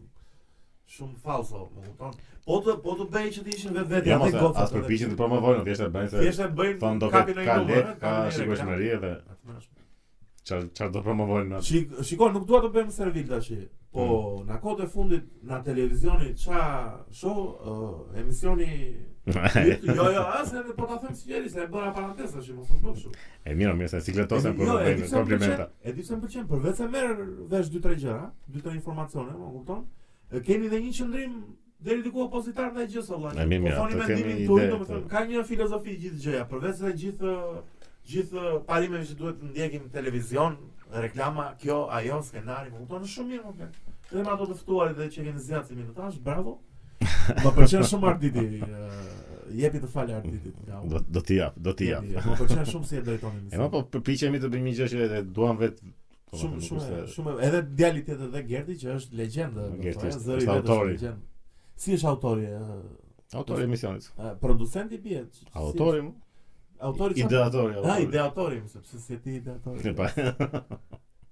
S2: shumë falso, më kupton? Po të po të bëj që të ishin vetë vetë
S1: Ja mos e- as përpiqen të promovojnë, thjesht e bëjnë se
S2: Thjesht e bëjnë
S1: thonë do
S2: kapin
S1: ketë
S2: në
S1: ka
S2: një numër,
S1: lek, ka
S2: eh, kapin në një
S1: shikueshmëri edhe
S2: reklam.
S1: çfarë çfarë do promovojnë *laughs* atë.
S2: Shik, shiko, nuk dua të bëjmë servil tash. Po,
S1: Mm.
S2: në kohët e fundit, në televizioni, qa show, ë, emisioni... jo, jo, asë edhe po ta them sinqerisht, se e bëra parantesë tash, mos më bësh.
S1: E mirë, mirë se sikletosen për
S2: Jo, e di
S1: bëjnë
S2: pse më
S1: komplimenta.
S2: pëlqen, E di pse më pëlqen, por vetë se merr vesh 2-3 gjëra, 2-3 informacione, më kupton? E, Keni dhe një qëndrim deri diku opozitar ndaj gjës valla.
S1: E, mirë, mirë,
S2: Po thoni
S1: atë kemi
S2: mendimin
S1: ide,
S2: tuaj, domethënë
S1: po.
S2: ka një filozofi gjithë gjëja, përveç se gjithë gjithë parimeve që duhet të ndjekim televizion, reklama, kjo, ajo, skenari, më kupton? Është Shumë mirë, më pëlqen. Dhe me ato të ftuarit dhe që keni zgjatë si minutash,
S1: *laughs*
S2: bravo. Më pëlqen shumë Arditi. e, Jepi të falë Arditit. nga unë.
S1: Do do t'i jap, do t'i jap.
S2: Jepi, Më pëlqen shumë si e drejton
S1: E ma po përpiqemi të bëjmë një gjë që e duam vetë po,
S2: Shumë
S1: nuk
S2: shumë
S1: është-
S2: shumë edhe djali tjetër dhe Gerti që është legjendë, do
S1: Gerti
S2: thonë,
S1: është-
S2: zëri
S1: është
S2: vetë
S1: autori.
S2: legjendë. Si është autori? ë,
S1: Autori i emisionit.
S2: ë, Producenti bie. si është?
S1: Autori, mu?
S2: Autori. qa-
S1: ideatori.
S2: Ah,
S1: autori. *laughs*
S2: ideatori, më, sepse si ti ideatori.
S1: E, *laughs* pa.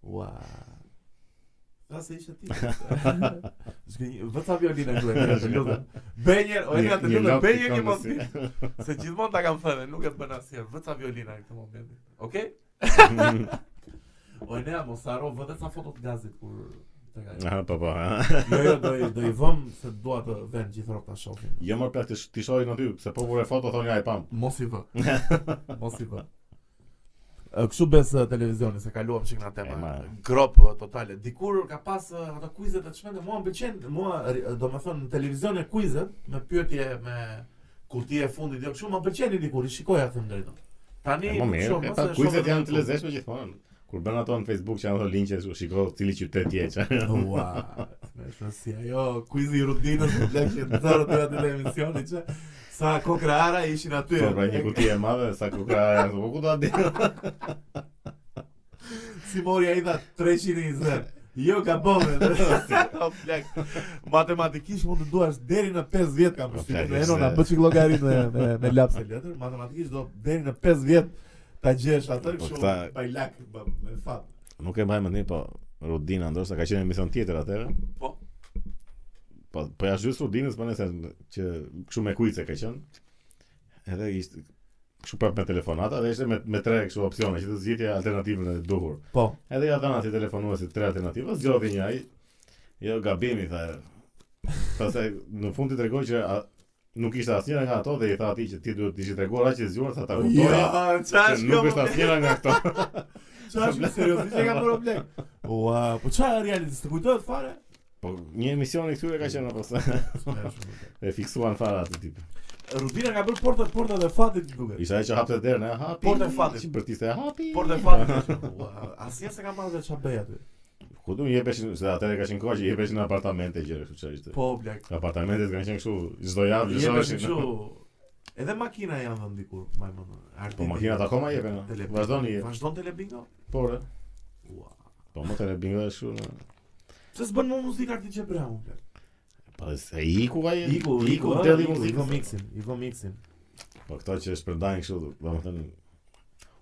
S2: Ua. Sa se ishe ti. *laughs* Zgjini, vetë violina këtu, të lutem. Benjer, o
S1: Një-
S2: ena të
S1: një
S2: lutem,
S1: lap
S2: Benjer
S1: pikon
S2: ke mos
S1: si-
S2: di. Se gjithmonë ta kam thënë, nuk e bën asnjëherë. Vetë violina në këtë moment.
S1: *laughs*
S2: Okej? O ena mos haro vetë sa foto të gazit kur tek ajo.
S1: Aha, po po. ha.
S2: Jo, jo, do i, do i vëm se dua të vend gjithë rrobat ta shohin.
S1: Jo më pak të sh- ti shohin aty, pse po vure foto thonë ja e pam.
S2: Mos i vë. *laughs* Mos i vë. Ë, Kështu bes ë, televizioni se kaluam çik na
S1: E,
S2: tema.
S1: ma.
S2: Grop ë, totale. Dikur ka pas ë, ato kuizet të çmendë, mua m'pëlqen, mua ri- domethënë në televizion e kuizet me pyetje me kuti e fundit, jo kështu më pëlqeni dikur, i shikoja them drejtën. Tani
S1: E, më mirë,
S2: mos
S1: e pa
S2: e shoh
S1: kuizet
S2: vetëm
S1: janë
S2: në
S1: të
S2: YouTube.
S1: lezetshme gjithmonë. Kur bën ato në Facebook që janë ato linqe, shu- shiko cili qytet je.
S2: *laughs*
S1: qa.
S2: Ua, me shumë si ajo, kuizi i rutinës në plek që të zërë të aty në emisioni që sa kokra ara ishin aty.
S1: Po pra një kuti e madhe sa kukra, po ku do ta di?
S2: Si mori ai dha 320. Jo ka bove. *laughs* O plak. Matematikisht mund të duash deri në 5 vjet kam
S1: Po,
S2: përshtypjen.
S1: plak,
S2: Ne eno
S1: se-
S2: na bë çik llogarit me me, me laps e letër, matematikisht do deri në 5 vjet ta gjesh atë
S1: Po,
S2: kështu
S1: këta-
S2: bajlak bë- me fat.
S1: Nuk e mbaj mendin, po Rudina ndoshta ka qenë në emision tjetër atëherë.
S2: Po.
S1: Po po jashtë gjysë Rudinës, po nëse që kështu me kujtë ka qenë. Edhe ishte kështu prapë me telefonata dhe ishte me me tre kështu opsione që të zgjidhje alternativën e duhur.
S2: Po.
S1: Edhe ja dhënë atij telefonuesit tre alternativa, zgjodhi një ai. Jo gabimi tha. e. Pastaj në fund i tregoi që a, nuk ishte asnjëra nga ato dhe i tha atij që ti duhet të ishit treguar aq i zgjuar sa ta kuptoje.
S2: Po, Jo, Ja,
S1: që
S2: çfarë
S1: nuk është asnjëra nga ato.
S2: Çfarë është seriozisht e ka bërë blek. Ua, po çfarë reality të kujtohet fare? *laughs*
S1: Po një emision i këtyre ka qenë apo sa *laughs* e fiksuan fare atë tip.
S2: Rudina ka bërë portat portat e fatit duket.
S1: *laughs* Ishte ai që hapte derën, e hapi.
S2: Portë e fatit.
S1: Që për ti se hapi.
S2: Portat e fatit. Ua, asnjë se ka marrë çfarë bëj aty.
S1: Ku do jepeshin, se atëre ka qenë kohë që jepeshin në apartamente gjëra kështu çfarë ishte.
S2: Po blek.
S1: Apartamentet kanë qenë kështu çdo javë
S2: Jepesh
S1: lëshoheshin.
S2: kështu. Edhe makina janë vënë dikur, majmun. Arti.
S1: Po makinat akoma jepen. a?
S2: Tele-
S1: Vazhdon i jep.
S2: Vazhdon telebingo?
S1: Por. e.
S2: Ua.
S1: Po më tani bingo është shumë.
S2: Pse s'bën më muzikë arti që brau blek?
S1: Po se iku ai.
S2: ë,
S1: deli
S2: iku,
S1: muzikë.
S2: Iku mixin, iku mixin.
S1: Po këto që shpërndajnë kështu, domethënë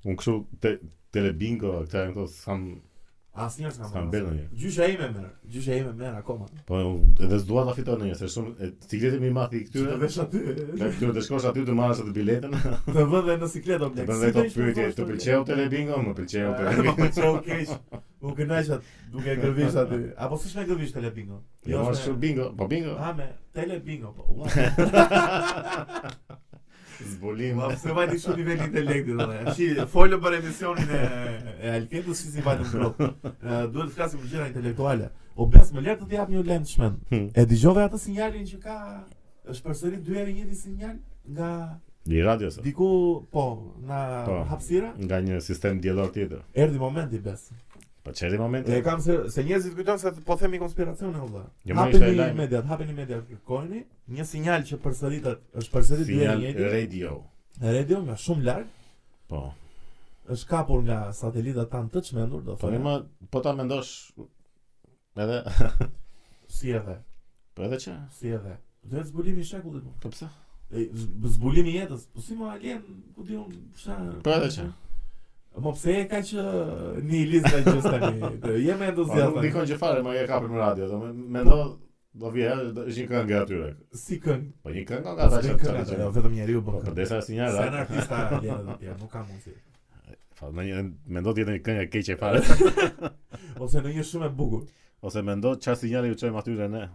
S1: unë kështu te telebingo, këta janë këto sam
S2: Asnjëherë s'ka
S1: sam bën ndonjë.
S2: Gjysha ime merr, gjysha ime merr akoma.
S1: Po unë edhe s'dua ta fitoj ndonjë, se shumë e, cikleti më i madh i
S2: Të
S1: këtyre.
S2: vesh aty.
S1: Nga këtyre të shkosh aty të marrësh atë biletën.
S2: Të vënë dhe në sikletë o
S1: Të
S2: blek.
S1: bën
S2: Si
S1: vetë
S2: ishte
S1: pyetje,
S2: kjo
S1: të
S2: storia?
S1: pëlqeu telebingo, më pëlqeu
S2: *laughs* Më
S1: telebingo.
S2: pëlqeu keq. U kënaqja duke e gërvish aty. Apo s'është me gërvish telebingo.
S1: *laughs* Jo,
S2: është
S1: është shumë bingo, po bingo.
S2: Ha me telebingo po. Ua,
S1: Zbulim.
S2: ua, pse vajti shumë niveli intelektit atë. Shi, folëm për emisionin e e Alketës si si vajtëm
S1: *laughs*
S2: prop. Duhet të flasim për gjëra intelektuale. O bes më lër të të jap një lend shmen.
S1: Hm.
S2: E dëgjove atë sinjalin që ka është përsëri dy herë njëti sinjal nga
S1: Di radios.
S2: diku po nga
S1: Po.
S2: hapësira
S1: Nga një sistem diellor tjetër.
S2: erdhi momenti bes.
S1: Po çeli
S2: E
S1: momentin.
S2: kam se se njerëzit kujtojnë se po themi konspiracione valla.
S1: Jo, ma ishte e
S2: Hapeni
S1: lajm.
S2: mediat, hapeni mediat, kërkojeni një sinjal që përsëritet, është përsërit dy herë
S1: Sinjal
S2: njëti.
S1: radio.
S2: Radio nga shumë larg,
S1: Po.
S2: është kapur nga satelitat tan të çmendur, do
S1: Po ne
S2: thonë.
S1: ma po ta mendosh edhe
S2: Si edhe,
S1: po edhe çe.
S2: si edhe. Dhe zbulimi i shekullit. mo.
S1: Po pse?
S2: E, z- Zbulimi i jetës, po si më alien, ku di unë, çfarë?
S1: Po edhe çe.
S2: Mo pse e ka që nihilist ai gjë tani? Dhe Je më
S1: Po nuk
S2: entuziast.
S1: dikon që fare, ma e kapim në radio, do me- mendo do vi herë, do- është një këngë nga atyre.
S2: Si këngë?
S1: Po një këngë nga ata
S2: Ata
S1: që
S2: që
S1: ata që-
S2: Jo, vetëm njeriu
S1: Po
S2: bën këngë.
S1: kërdesa si një
S2: Se në
S1: radio.
S2: artista alien do të jem, nuk ka mundsi.
S1: Po në një mendo të jetë një këngë e keqe fare.
S2: Ose në një shumë e bukur.
S1: Ose mendo çfarë sinjale ju çojmë atyre ne.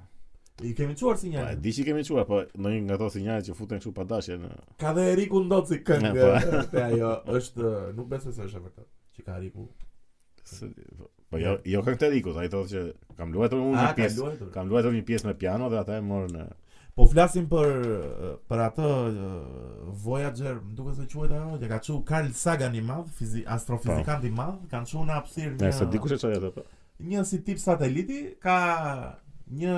S2: I kemi çuar
S1: Po e
S2: sinjal.
S1: di që kemi çuar, po ndonjë nga ato sinjale që futen kështu pa dashje në.
S2: Ka dhe Eriku Ndoci këngë.
S1: Ne, po.
S2: *laughs* Te ajo është nuk besoj se është e vërtetë që ka Eriku.
S1: se- Po jo jo këngë të rikut, ai thotë që kam luajtur unë një
S2: Ah, ka
S1: pjesë.
S2: luajtur.
S1: Kam luajtur një pjesë me piano dhe ata e morën. e,
S2: Po flasim për për atë eh, Voyager, më duket se quhet ajo, që ka çu Carl Sagan i madh, fizi, astrofizikant i madh, kanë çu në hapësirë
S1: Ne Po. se
S2: një
S1: dikush e çoi atë. po.
S2: një si tip sateliti ka një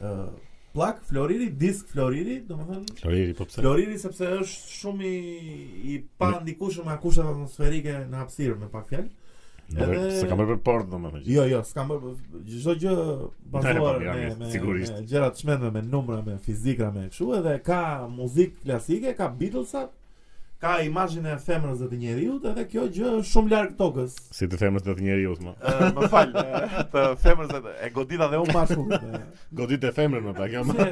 S2: ë plak floriri, disk floriri, domethënë
S1: Floriri, po pse?
S2: Floriri sepse është shumë i, i pa ndikueshëm nga kushtet atmosferike në hapësirë, me pak fjalë. Edhe-
S1: Edhe... Se kam bërë për port, do më thënë.
S2: Jo, jo, s'kam bërë çdo gjë bazuar
S1: Ne, po,
S2: me
S1: mirë,
S2: me,
S1: sigurisht.
S2: me gjëra të shmendme, me numra, me fizikra, me kështu, edhe ka muzikë klasike, ka Beatlesat, ka imazhin e femrës dhe të njeriu, edhe kjo gjë është shumë larg tokës.
S1: Si të femrës dhe të njeri usma.
S2: Ë,
S1: *laughs*
S2: më fal, ë, *laughs* të femrës dhe të- e godita dhe unë *laughs* mashkull.
S1: Godit e femrën më pak, jo më.
S2: *laughs* Se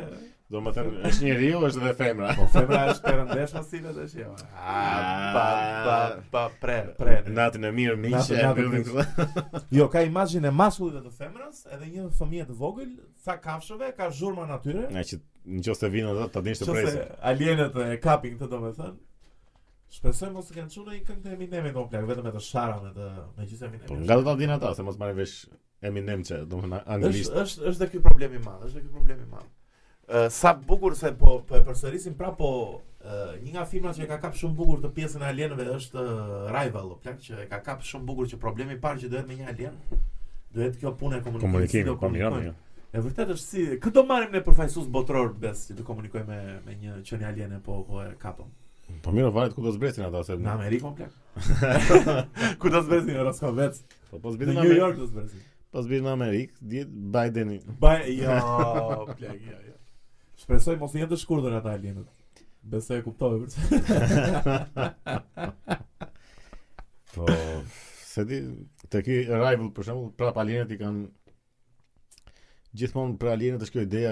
S1: Do më thënë, është njeri u, është dhe femra.
S2: po femra është perëndesh mos sillet është jo. Ah, ba ba ba pre pre.
S1: Natën e mirë miqë,
S2: Natën-
S1: e
S2: natën
S1: mbyllim
S2: miq.
S1: këtu.
S2: Jo, ka imazhin e mashkullit dhe të femrës, edhe një fëmijë të vogël, ca kafshëve, ka zhurma natyrë.
S1: Nga që në qoftë se vinë ato, ta dinsh të presin.
S2: Qëse alienët e kapin këtë domethënë. Shpresoj mos të kanë çuar një këngë të Eminemit on plak, vetëm me të shara me të me gjithë
S1: Po
S2: Eminemin.
S1: nga do ta dinë ata, se mos marrin vesh Eminem që, do më thënë anglisht.
S2: Është është është dhe ky problem i madh, është dhe ky problem i madh. Ë, sa bukur se po po e përsërisim pra po ë, një nga filmat që e ka kap shumë bukur të pjesën e alienëve është ë, Rival, o plak që e ka kap shumë bukur që problemi i parë që dohet me një alien dohet kjo punë e komunikimit. si do
S1: Komunikim, po mira,
S2: komunikojmë.
S1: mira.
S2: E vërtet është si, këtë do marrim ne përfaqësues botror bes që të komunikoj me me një qenie aliene po po e kapëm.
S1: Po mira, varet ku do zbresin ata se.
S2: Në Amerikë më plak.
S1: *laughs*
S2: Ku do zbresin në Roskovec?
S1: Po po
S2: Në
S1: zbresin
S2: New York do zbresin.
S1: Po zbresin në Amerikë, dihet Bideni.
S2: Baj, jo, plak, jo, jo. Shpresoj mos jenë të shkurtër ata alienët. Besoj e kuptoj për çfarë.
S1: Po se di, te ky rival për shembull, prap alienët i kanë gjithmonë për alienët është kjo ideja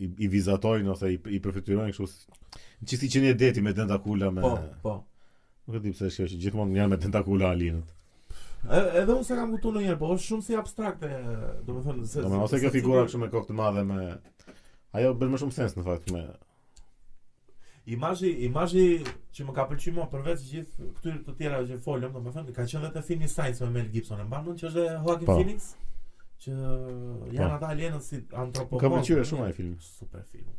S1: i, i vizatojnë ose i, i përfityrojnë kështu si- që si qenie deti me tentakula me
S2: Po, po.
S1: nuk e di pse është kjo që gjithmonë janë me tentakula alienët.
S2: E- Edhe unë s'e kam kuptuar ndonjëherë, po është shumë si abstrakte, domethënë se
S1: Domethënë ose kjo figura kështu me kokë të madhe me ajo bën më shumë sens në fakt me
S2: Imazhi, imazhi që më ka pëlqyer më përveç gjithë këtyre të tjera që folëm, domethënë ka qenë vetë filmi Science me Mel Gibson, e mban mend që është dhe Joaquin
S1: Po.
S2: Phoenix që janë
S1: Po.
S2: ata alienët si antropomorfë.
S1: Ka pëlqyer shumë ai film.
S2: Super film.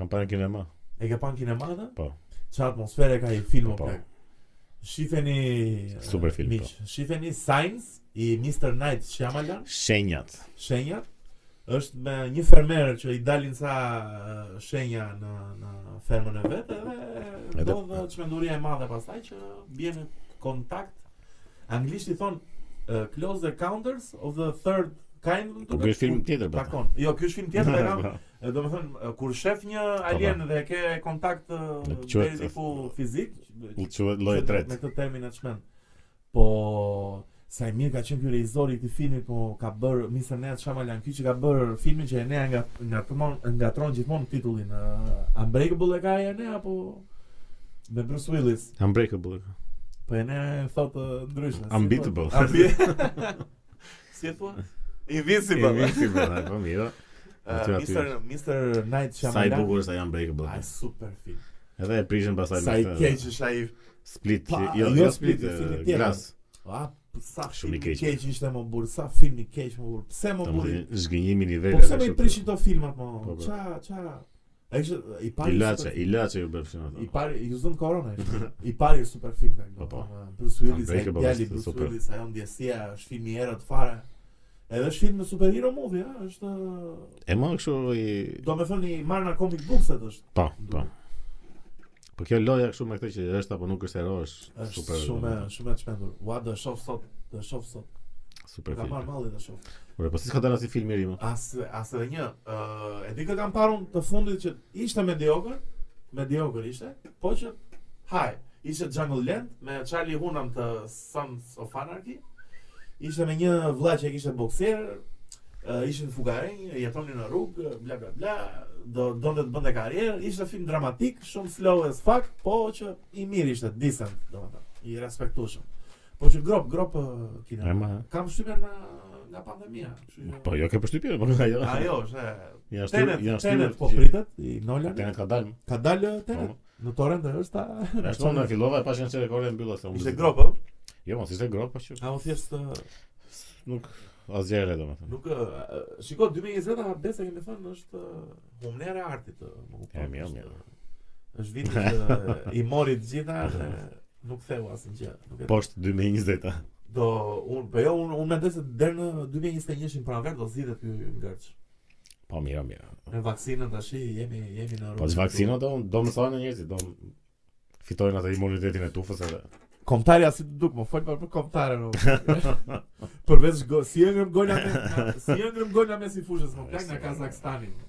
S1: Kam parë në kinema.
S2: E ke pan kinema atë?
S1: Po.
S2: Çfarë atmosfere ka i filmi
S1: Po.
S2: po. Shifeni e,
S1: Super film, po.
S2: miq. Shifeni Science i Mr. Night Shyamalan,
S1: Shenjat.
S2: shenjat është me një fermer që i dalin sa e, shenja në në fermën e vet
S1: Edhe-
S2: edhe do dhe çmenduria e madhe pastaj që bie në kontakt anglisht i thon e, close the counters of the third kind
S1: Po ky është film tjetër pra.
S2: takon jo ky është film tjetër
S1: *laughs*
S2: e kam
S1: Po.
S2: E, Do me thënë, e, kur shef një alien dhe ke kontakt e,
S1: Në
S2: deri
S1: quhet-
S2: diku fizik,
S1: U quhet lloj e
S2: me
S1: tretë.
S2: këtë termin e çmend. Po sa i mirë ka qenë ky regjizori i këtij filmi, po ka bër Mr. Ned Shyamalan, ky që ka bër filmin që Enea nga ngatron ngatron gjithmonë titullin. e, Unbreakable e ka Enea apo me Bruce Willis.
S1: Unbreakable.
S2: Po Enea e thot e, ndryshe. si thot?
S1: Unbeatable.
S2: Unbe- *laughs* Si e thua? Invisible.
S1: Invincible, ai, po
S2: *laughs*
S1: mira. Aty,
S2: Uh,
S1: aty.
S2: Mr. Mr. Night
S1: Sa i
S2: Shyamalan.
S1: bukur është ai Unbreakable.
S2: Ai super film.
S1: Edhe e prishin pastaj
S2: Sa i
S1: këtë
S2: keq është ai.
S1: Split,
S2: Pa,
S1: jo,
S2: jo
S1: jo split,
S2: Split,
S1: e,
S2: filmi tjetër. po,
S1: Glass.
S2: A, p- sa
S1: Shumë
S2: film
S1: i
S2: i
S1: keq.
S2: keq ishte më burr, sa film i keq më burr. Pse më burr?
S1: Domethënë zhgënjimi i
S2: Po
S1: nivelit.
S2: pse më i prishin to filmat
S1: Po,
S2: më?
S1: po.
S2: Ça, ça. Ai ishte i pari.
S1: Ilaçe,
S2: super-
S1: ilaçe ju bëfshin ato.
S2: I pari, ju zon korona. ishte. I pari është super film.
S1: Po, po.
S2: Bruce Willis, ai
S1: Unbreakable
S2: djali
S1: është
S2: Bruce
S1: super.
S2: Willis, ajo ndjesia, është film i erët fare. Edhe është film me superhero movie, a, është
S1: E më kështu i
S2: do me thënë i marrë nga comic bookset është.
S1: po, po. Po kjo loja kështu me këtë që është apo nuk është hero është
S2: Është
S1: super.
S2: shumë shumë e çmendur. Ua do e shoh sot, do e shoh sot.
S1: super
S2: Ka marrë
S1: film.
S2: malli do e shoh.
S1: Ore, po si ka dalë si film i ri më?
S2: As as edhe një. Ë, e di që kam parë unë të fundit që ishte mediokër, mediokër ishte, po që haj, ishte Jungle Land me Charlie Hunnam të Sons of Anarchy. Ishte me një vëlla që e kishte bokser, ë, ishin fugarenj, jetonin në rrugë, bla bla bla, do donte të bënte karrierë, ishte film dramatik, shumë slow as fuck, po që i mirë ishte, decent, domethënë, i respektueshëm. Po që grop, grop ë,
S1: E
S2: kina.
S1: ma.
S2: Kam shtypën nga nga pandemia, kështu që
S1: Po jo ke përshtypje, po *laughs* ajo.
S2: Ajo është.
S1: Ja shtyr,
S2: Tenet,
S1: ja shtyr.
S2: Tenet po pritet i Nolan.
S1: Tenet ka dalë.
S2: Ka dalë Tenet.
S1: Po.
S2: Në torrent është ta.
S1: Ashtu na fillova e pashin se rekordin mbylla se unë.
S2: Ishte grop, ë?
S1: Jo, mos ishte grop, po që
S2: A u thjesht ë,
S1: nuk asgjëre domethënë.
S2: nuk ë, ë, shiko 2020-a besa kemi thënë është ë, humnera e artit, ë, më kupton.
S1: E, mirë,
S2: është-
S1: mirë.
S2: Është viti që i mori të gjitha dhe nuk theu asnjë gjë. Nuk e
S1: Poshtë 2020-ta.
S2: do un po jo un un mendoj se deri në 2021-shin pranverë do zgjidhet ky ngërç.
S1: Po mira, mira.
S2: Me vaksinën tash jemi jemi në
S1: Po që vaksina do, do më thonë njerëzit, do më fitojnë atë imunitetin e tufës edhe.
S2: Komtarja si të duk, më fol për për komtarën.
S1: *laughs*
S2: o. Përveç go, si e ngrëm gola me, si e ngrëm gola me si fushës më plak nga Kazakstani. mo.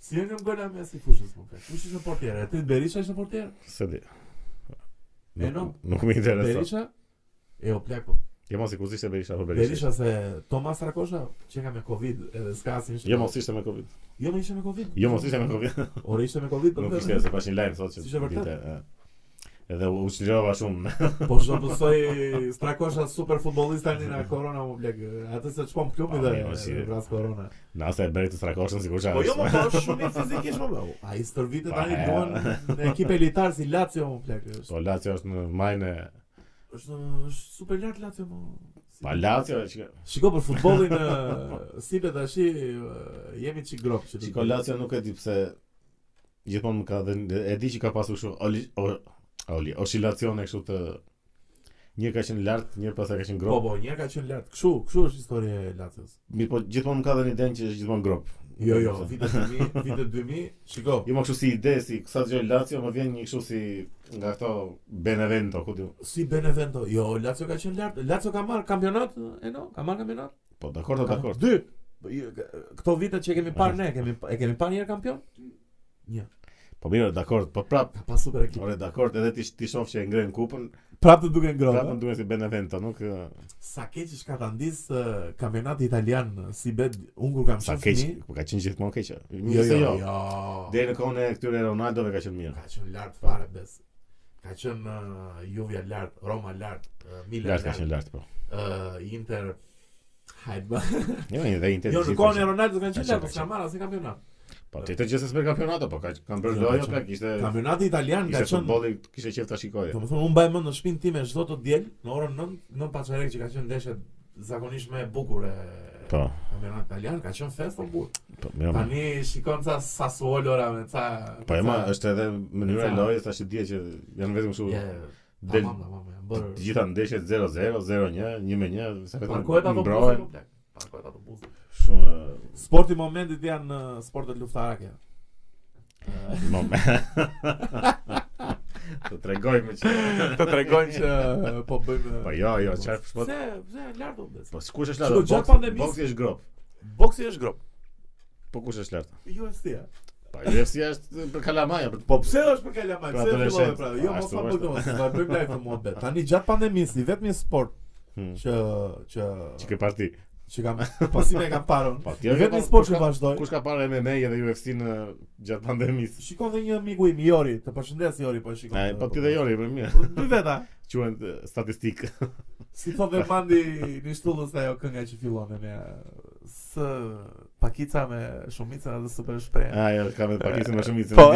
S2: Si e ngrëm gola me si fushës më plak. Kush ishte portiere? Ti Berisha ishte portiere?
S1: Se di.
S2: E,
S1: Nuk,
S2: no.
S1: nuk më interesa.
S2: Berisha? E o plak po.
S1: Jo mos i ku ishte Berisha apo Berisha.
S2: Berisha se Tomas Rakosha që ka me Covid edhe s'ka asnjë.
S1: Jo mos ishte me Covid.
S2: Jo më ishte me Covid.
S1: Jo mos ishte me
S2: *laughs*
S1: Covid.
S2: Ore ishte me Covid po
S1: Nuk
S2: për
S1: ishte se pashin lajm sot që.
S2: Si ishte vërtet?
S1: dinte, e. Edhe u çlirova shumë. *laughs*
S2: Po shërbësoj Strakosha super futbollist tani nga korona më plak. Atë se çpom klubi
S1: Po,
S2: dhe
S1: mirë, si-
S2: dhe vras korona.
S1: Nëse e bëri të strakoshën sigurisht.
S2: Po jo më po është shumë i fizikisht më bëu. Ai stërvitet
S1: Pa,
S2: tani
S1: e.
S2: duan në ekip elitar si Lazio më plak. Është
S1: Po Lazio është në majën e
S2: është është super lart Lazio më. Si
S1: Palacio, shiko-
S2: Shiko për futbollin ë, si be tash jemi çik grop që
S1: shiko Lazio nuk e di pse gjithmonë më ka dhe e di që ka pasur kështu oli- o- oli- oscilacione kështu të një ka qenë lart, një pastaj ka qenë
S2: Po
S1: grop.
S2: po, një ka qenë lart. Kështu, kështu është historia e Lazios.
S1: Mirë, po gjithmonë më ka dhënë idenë që është gjithmonë grop.
S2: Jo, jo, vitet 2000, vitet 2000, shiko.
S1: Jo më kështu si ide, si sa dëgjoj Lazio, më vjen një kështu si nga këto Benevento, ku ti.
S2: Si Benevento. Jo, Lazio ka qenë lart. Lazio ka marr kampionat, e no, ka marr kampionat.
S1: Po, dakor,
S2: Ka-
S1: dakor.
S2: Dy. Po, jo, k- Këto vite që kemi parë ne, kemi e kemi parë një herë kampion?
S1: Po mirë, dakor, po prap.
S2: Ka pas super ekip.
S1: Ore, dakor, edhe ti ti shoh që e ngren kupën,
S2: Prapë të duken
S1: prap më
S2: ngrohtë.
S1: duhet si Benevento, nuk eh,
S2: Sa keq që ka ta ndis ë, kampionati italian ë, si bet un kur kam
S1: sa
S2: qenë fëmijë.
S1: keq, po ka qenë gjithmonë keq.
S2: Jo,
S1: Mirë se
S2: jo,
S1: jo.
S2: jo.
S1: Deri në kohën e këtyre Ronaldove ka qenë mirë.
S2: Ka qenë lart fare bes. Ka qenë uh, Juve lart, Roma lart, ë, Milan
S1: Lart ka
S2: lart,
S1: qenë lart, po.
S2: ë, Inter Hajde. ba.
S1: Jo, një dhe Inter.
S2: Jo, në
S1: gjithë
S2: kohën
S1: ka
S2: e Ronaldo kanë
S1: Ka
S2: qenë
S1: qenë,
S2: lart, po
S1: ka
S2: s'ka marrë asnjë kampionat.
S1: qenë. Po ti të gjithë s'per kampionato, po ka kanë bërë
S2: Jo, ka
S1: lojo,
S2: qenë.
S1: plak, ishte
S2: Kampionati italian
S1: ishte
S2: ka qenë Po.
S1: futbolli, kishte qejf ta shikoje.
S2: Do më thonë, unë mbaj mend në shpinë time çdo të diel, në orën 9, në Paçarek që ka qenë ndeshje zakonisht më e bukur e
S1: Po,
S2: kampionat italian, ka qenë festë bukur.
S1: po, mirë. ma.
S2: Tani shikon ca Sassuolo ora me ca
S1: Po e ma,
S2: ca-
S1: është edhe mënyra e
S2: Ca-
S1: lojës, tash i dje që janë vetëm kështu.
S2: Je,
S1: Del
S2: Tamam, po. tamam, janë
S1: të
S2: bërë.
S1: gjitha ndeshjet 0-0, 0-1, 1-1, sa
S2: Parkohet ato buzë,
S1: mbrohen
S2: po, plak. Parkohet ato buzë.
S1: shumë
S2: Sporti momentit janë uh, sportet luftarake.
S1: eh, moment. *laughs* Të tregojmë që
S2: *laughs* Të tregojnë që uh, po bëjmë
S1: Po jo, jo, çfarë po
S2: Se, se lart do bes.
S1: Po kush është
S2: Shiko,
S1: lart?
S2: gjatë
S1: Boksi,
S2: pandemisë-
S1: boksi është grop.
S2: Boksi është grop.
S1: Po kush është lart?
S2: UFC-a.
S1: Po UFC është për kalamaja, për
S2: Po pse është për kalamaj?
S1: Për
S2: Pse fillove
S1: adoleshent.
S2: pra? Jo, mos
S1: Ashtu
S2: ma
S1: është.
S2: bëj mos, do bëjmë live për muhabet. Tani gjatë pandemisë, i vetmi sport
S1: Hmm.
S2: që që
S1: Çike parti.
S2: që kam pasi e kam parë. unë.
S1: Po
S2: I
S1: tjerë.
S2: vetmi sport që vazhdoj.
S1: Kush ka parë MMA edhe UFC në gjatë pandemisë?
S2: Shikon dhe një miku im Jori, të përshëndes Jori, po e shikon.
S1: Ai, po ti dhe Jori, po mirë.
S2: Dy veta.
S1: Quhen eh, statistikë.
S2: Si thotë dhe Mandi në shtullës ajo kënga që fillon e me së pakica me shumica dhe super shprehje.
S1: *laughs* Ai, ka me pakicën më shumicën.
S2: Po.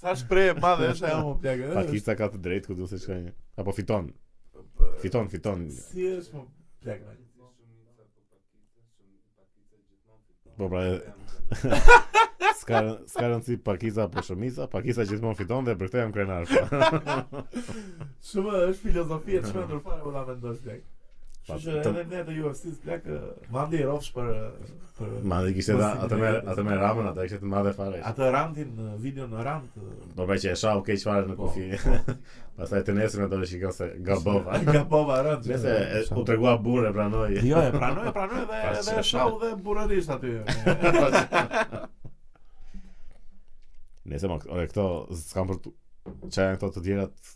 S2: Sa shprehje e madhe është ajo më plagë.
S1: Pakica ka të drejtë ku do se shkojnë. Apo fiton. Fiton, fiton.
S2: Si është më plagë.
S1: Po pra, s'ka *laughs* s'ka rëndsi pakica apo shumica, pakica gjithmonë fiton dhe për këtë jam krenar.
S2: Shumë është filozofia të shmendur fare kur ta mendosh plak.
S1: Pa,
S2: Kështu që
S1: të-
S2: edhe ne të UFC-s plak ë, mandi i rrofsh për ë, për
S1: Madje kishte
S2: Mos
S1: da,
S2: i
S1: atë me
S2: drejtë.
S1: atë me Ramën, ata kishte të madhe fare.
S2: atë rantin ë, video në rant. ë,
S1: Po pra që e shau keq fare në
S2: po,
S1: kufi.
S2: po.
S1: *laughs* Pastaj të nesër do të shikoj se *laughs* gabova.
S2: *laughs* Gabova rant.
S1: Nëse
S2: ë,
S1: e-
S2: shau.
S1: u tregua burrë pranoj.
S2: Jo, e pranoj, e pranoj dhe
S1: *laughs* Pa,
S2: edhe
S1: që-
S2: e shau dhe burrërisht aty.
S1: *laughs*
S2: *laughs*
S1: Nëse më ore këto s'kan për tu- çfarë janë këto të tjerat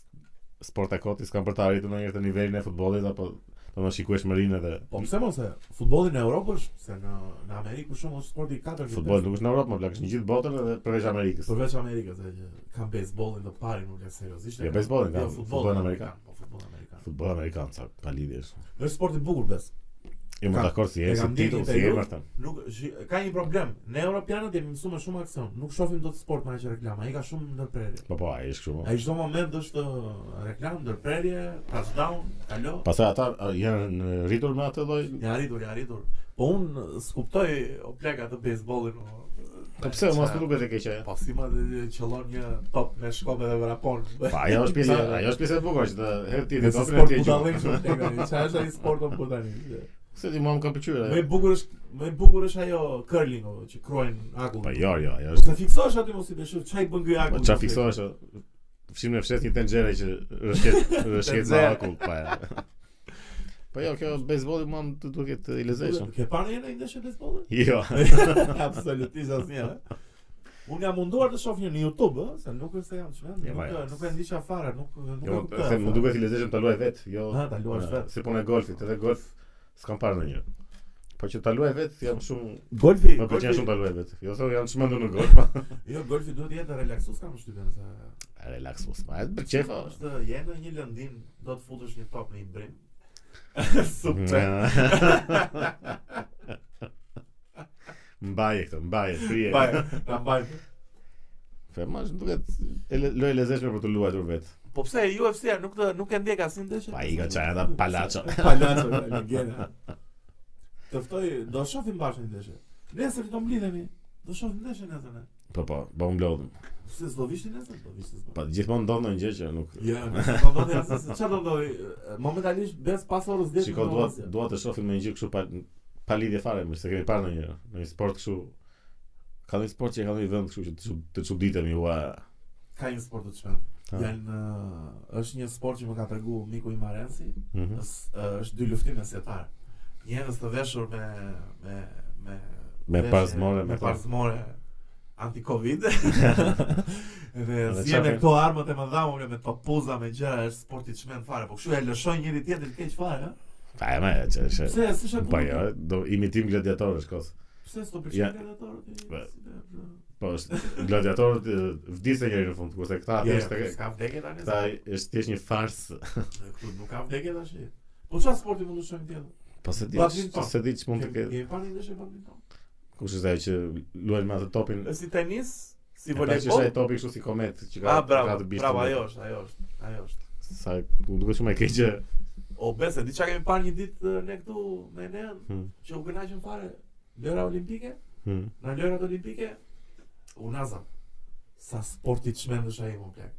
S1: sport e koti s'kan për të arritur ndonjëherë të nivelin e futbollit apo do të shikuesh mërinë edhe
S2: Po pse mos e? Futbolli në Europë është se në në Amerikë për shembull është sporti i katërt.
S1: futbolli nuk është në Europë, më plak, është në gjithë botën edhe përveç Amerikës.
S2: *laughs* Përveç Amerikës, e që kam baseballin të parin, nuk e seriozisht. e
S1: Jo,
S2: kam.
S1: baseballin kam,
S2: Jo,
S1: futbollin amerikan.
S2: Po futbolli amerikan.
S1: Futbolli amerikan sa pa lidhje. është.
S2: Është sport i bukur bes.
S1: Jo më
S2: Ka-
S1: dakord si
S2: e
S1: e si
S2: kam ndjekur
S1: titull,
S2: një
S1: si e
S2: periudhë.
S1: mërtan.
S2: Nuk shi- ka një problem. Ne europianët jemi mësuar me shumë aksion. Nuk shohim dot sport me aq reklama. Ai ka shumë ndërprerje.
S1: Po po, ai është kështu. mo.
S2: Ai çdo moment është ë, reklam, ndërprerje, touchdown, kalo.
S1: Pastaj ata a, janë në- rritur me atë lloj.
S2: Ja arritur, ja arritur. Po un skuptoj o plak atë baseballin. o.
S1: Po pse mos më duket e keqe?
S2: Po si ma dhe qëllon një top me shkope dhe vrapon.
S1: *laughs* Po ajo është
S2: *laughs*
S1: pjesa, ajo është pjesa e bukur që të herë ti do
S2: Në se
S1: të
S2: sport
S1: ti e
S2: budallim
S1: gjumë.
S2: shumë plak. tani. Qa është ai sport o budallim?
S1: *laughs* Se ti mua më ka pëlqyer.
S2: Më
S1: ajo.
S2: e bukur është, më e bukur është ajo curling o, që kruajnë akull.
S1: Po jo, jo, ajo
S2: Po
S1: është.
S2: se fiksohesh aty mos i beshu, çaj bën ky
S1: Po
S2: akull.
S1: çfarë fiksohesh? o? Fshim në fshet një tenxhere që
S2: *laughs*
S1: rëshket rëshket me
S2: Tenxhere.
S1: akull pa. e. Po jo, kjo bejsbolli mua më të duket i lezetshëm.
S2: Ke parë një ndeshje
S1: *laughs*
S2: baseballi?
S1: Jo.
S2: *laughs* Absolutisht asnjë. ha? Unë jam munduar të shoh një në YouTube, ë, se nuk është se jam çmend,
S1: Jo,
S2: nuk
S1: ma,
S2: nuk e ndiqja fare, nuk nuk
S1: Jo,
S2: e
S1: më-
S2: kuptoj.
S1: se më duket i lezetshëm ta luaj vet, jo.
S2: Ha, ta luash
S1: Ja,
S2: vet.
S1: Si punë e golfit, edhe golf s'kam parë ndonjë. Po që ta luaj vet, jam shumë
S2: Golfi,
S1: më pëlqen shumë
S2: golfi,
S1: ta luaj vet. Jo, se jam çmendur në golf. po.
S2: *laughs*
S1: pa.
S2: jo golfi duhet të jetë relaksues kam përshtypjen se
S1: Relax, mos ma. e, po. Për çefa. është.
S2: është je në një lëndim, do të futesh një top në një
S1: *laughs*
S2: brim. Super.
S1: Mbaje këtë, mbaje, frije.
S2: Baj, ta baj.
S1: Fe, ma është duket e le- lojë e lezetshme për të luajtur vetë.
S2: Po pse UFC-a nuk të, nuk e ndjek asnjë ndeshje?
S1: Pa i ka qajnë ata
S2: *laughs*
S1: palaco.
S2: Palaço, legjenda. Të ftoj, do shohim bashkë një ndeshje. Nesër do mblidhemi. Do shohim ndeshjen nesër ne.
S1: Po po, po mblodhëm.
S2: Se s'do vishti nesër, do vishti s'do.
S1: Po gjithmonë ndodh një gjë që nuk
S2: Ja, po do të thasë, çfarë do ndodhi? Momentalisht bes pas orës 10.
S1: Shiko, dua dua të shohim një gjë kështu pa pa lidhje fare, më se kemi parë ndonjëherë. Në një sport kështu ka një sport që e ka një vend kështu që të çu- të çuditemi ua.
S2: ka një sport të çmend.
S1: Ha.
S2: Janë ë, është një sport që më ka tregu miku i Marensi,
S1: Mhm.
S2: Ës- ë, është dy luftime setar. Njerëz të veshur me me me
S1: Me
S2: veshje-
S1: parzmore, me
S2: me
S1: to.
S2: parzmore
S1: *laughs*
S2: anti-covid. Dhe
S1: Edhe
S2: si me
S1: çfarë-
S2: këto armët e mëdha, më me papuza, me gjëra, është sport i çmend fare, po kështu e lëshoj njëri tjetrin keq fare, ëh.
S1: Pa e më që është.
S2: Pse s'është
S1: Po
S2: kuptoj?
S1: jo, do imitim gladiatorësh kos.
S2: Pse s'do pëlqen
S1: Ja.
S2: gladiatorët? i-
S1: Ba-
S2: si dhe-
S1: Po është gladiatorët e, vdisën njëri në fund, kurse këta
S2: Ja,
S1: thjesht
S2: ja,
S1: e-
S2: s'ka vdekje tani.
S1: këta
S2: s'ka-
S1: është thjesht një farsë.
S2: Këtu nuk ka vdekje tash. Po çfarë sporti mund të shohim tjetër?
S1: Po se di,
S2: Badminton.
S1: se di ç'mund të ketë.
S2: Kemi parë një ndeshje badminton.
S1: Kush është ajo që luajnë me atë topin?
S2: Është si tenis, si
S1: E pra që është
S2: voleybol.
S1: ai topi kështu si komet që ka
S2: Ah,
S1: ka
S2: bravo,
S1: të bishtë
S2: bravo,
S1: me-
S2: ajo është, ajo është, ajo është.
S1: Sa u duket shumë e keqe.
S2: O bese, di çka kemi parë një ditë e, ne këtu me ne,
S1: Hmm.
S2: që u kënaqëm fare lëra olimpike,
S1: Hmm.
S2: në lërat olimpike Unaza. Sa sport i çmend është ai më plak.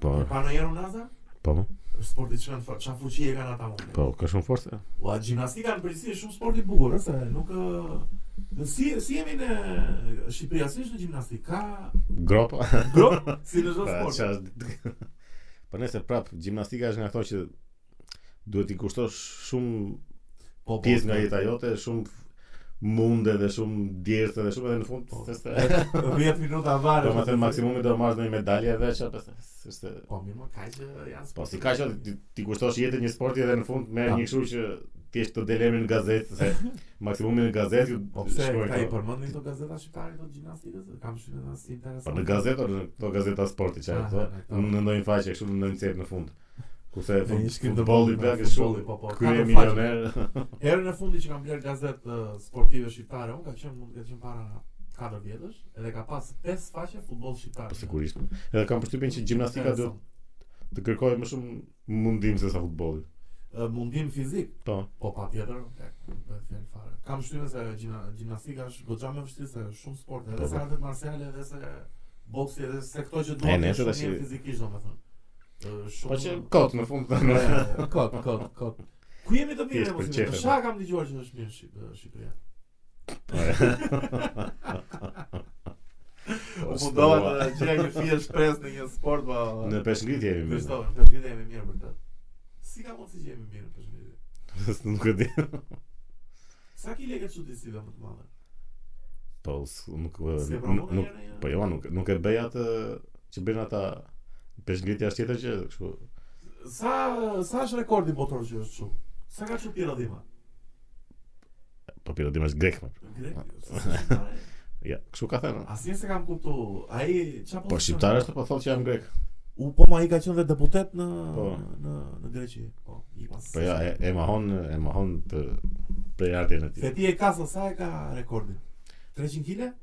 S1: Po,
S2: E pa në herë Unaza?
S1: po,
S2: Është sport i çmend, fort, çfarë fuqi e kanë ata më plak.
S1: po, ka shumë forcë.
S2: Ua gjimnastika në përgjithësi është shumë sport i bukur, ëh, se nuk ë, në si si jemi në Shqipëri asnjë në gjimnastik, ka
S1: Gropa.
S2: grop si
S1: *laughs*
S2: në çdo
S1: Pra,
S2: sport.
S1: qa është- Po nëse prap gjimnastika është nga ato që duhet i kushtosh shumë
S2: Po, po,
S1: pjesë nga jeta jote, shumë munde dhe shumë djertë dhe shumë edhe në fund
S2: Po.
S1: se se
S2: 10 minuta varë.
S1: do Po, të thënë maksimumi do marrësh ndonjë medalje edhe çfarë pas është
S2: Po mirë, më ka që janë
S1: po
S2: sporte.
S1: si ka që ti, ti kushtosh jetën një sporti edhe në fund merr
S2: Po.
S1: një kështu që thjesht të delemin në gazetë
S2: *laughs*
S1: se maksimumi në gazetë
S2: Po pse
S1: shkruajnë
S2: ka i
S1: këto.
S2: përmendin këto gazeta shqiptare këto gjimnastikës? Kam shumë edhe si interesant.
S1: Po në gazetë ose në këto gazeta sporti çfarë
S2: Ah, ah,
S1: këto
S2: ah.
S1: në ndonjë faqe kështu në ndonjë cep në fund. Kurse
S2: Në një shkrim të
S1: futbolli
S2: futbollit,
S1: plak
S2: në
S1: është
S2: futbolli, po, po,
S1: shumë
S2: ka
S1: krye
S2: të
S1: milioner. *laughs*
S2: Herën e fundi që kam bler gazetë eh, sportive shqiptare, unë ka qenë mund të ketë qenë para 4 vjetësh, edhe ka pas 5 faqe futboll shqiptar.
S1: Po sigurisht. Edhe kam përshtypjen që gjimnastika duhet të kërkojë më shumë mundim se sa futbolli.
S2: mundim fizik,
S1: Po.
S2: po patjetër, tek, bëhet fjalë fare. Kam shtypën se gjimna- gjimnastika është goxha më e vështirë se shumë sporte,
S1: Po,
S2: edhe
S1: po.
S2: se artet marciale, edhe se boksi, edhe se këto që
S1: E,
S2: duan
S1: ne
S2: të shumë
S1: tash-
S2: mirë fizikisht, domethënë. Eh,
S1: Po
S2: *laughs*
S1: që
S2: Shumë
S1: kot në fund. Po,
S2: Ja, kot, kot, kot. Ku jemi të mirë
S1: Thjesht për
S2: ne, mos
S1: qefe,
S2: jemi. Sa kam dëgjuar që është mirë Shqip- eh, Shqipëria.
S1: Po,
S2: U mundova të gjej një fije shpresë në një sport, po.
S1: në peshngritje jemi. mirë.
S2: Kristofër, të dy jemi mirë për këtë. Si ka mundsi që jemi mirë për shëndetin?
S1: Nuk e di.
S2: Sa ki lekë çuditësive më të mëdha?
S1: Po s- nuk
S2: Se
S1: nuk
S2: promovon
S1: nuk-
S2: njëra një-
S1: po jo nuk nuk e bëj atë që bën ata peshngritja është tjetër gjë, kështu.
S2: Sa sa është rekordi botror që është çu? Sa ka çu pirodhima?
S1: Po pirodim është grek. më.
S2: Grek. se s'është fare.
S1: Ja, kështu ka thënë.
S2: Asnjë se kam kuptu. Ai çfarë
S1: Po shqiptarët po thotë që janë grek.
S2: U po ma i ka qenë dhe deputet në
S1: Po.
S2: në në Greqi. Po, i pas.
S1: Po ja, e, e mahon, e mahon të prej ardhjën e tij.
S2: Se ti e ka sa sa e ka rekordin? 300 kg?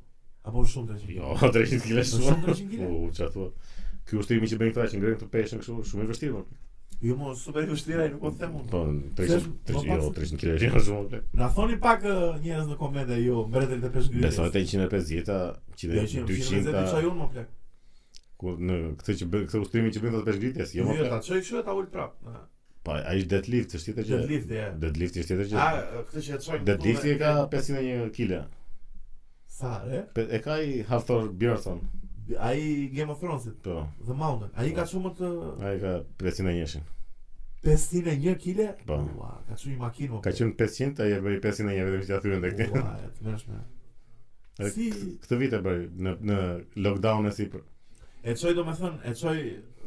S2: Apo është shumë 300 kg?
S1: Jo, *laughs* 300 kg
S2: Është
S1: shumë.
S2: shumë 300 kile?
S1: U, çfarë thua? Ky ushtrimi që bën këta që ngrenë të peshën kështu, shumë i vështirë. mo.
S2: Jo, mo, super e vështira i nuk po të them unë.
S1: Po, 300,
S2: Pse,
S1: 300,
S2: po,
S1: jo,
S2: pak-
S1: 300 kg janë shumë. ble.
S2: Na thoni pak ë, njerëz në komente ju mbretërit e peshngritjes.
S1: Besoj te 150-ta,
S2: Jo,
S1: 100, 200-ta,
S2: çaj unë më plak.
S1: ku në këtë që bën këtë ushtrimi që bën këta të peshngritjes, jo
S2: Jo,
S1: më.
S2: ta çoj kështu e ta ul prap. Na,
S1: Po, ai është deadlift, është tjetër gjë.
S2: Deadlift e.
S1: Deadlift është tjetër
S2: A
S1: gjë.
S2: këtë që e çoj.
S1: Deadlifti e ka 501 kg.
S2: sa re?
S1: Pe- E ka i Hafthor Björnsson.
S2: Ai Game of Thrones-it,
S1: Po,
S2: The Mountain. Ai ka çu më të
S1: ai ka 501.
S2: 501 kg.
S1: Po.
S2: Ua, ka çu një makinë më.
S1: Ka qenë 500, ai e bëri 501 vetëm që ja thyen tek ne.
S2: Ua, e të mërshme.
S1: Edhe
S2: Si
S1: Këtë vit e bëri në në lockdown e sipër.
S2: e çoj domethënë, e çoj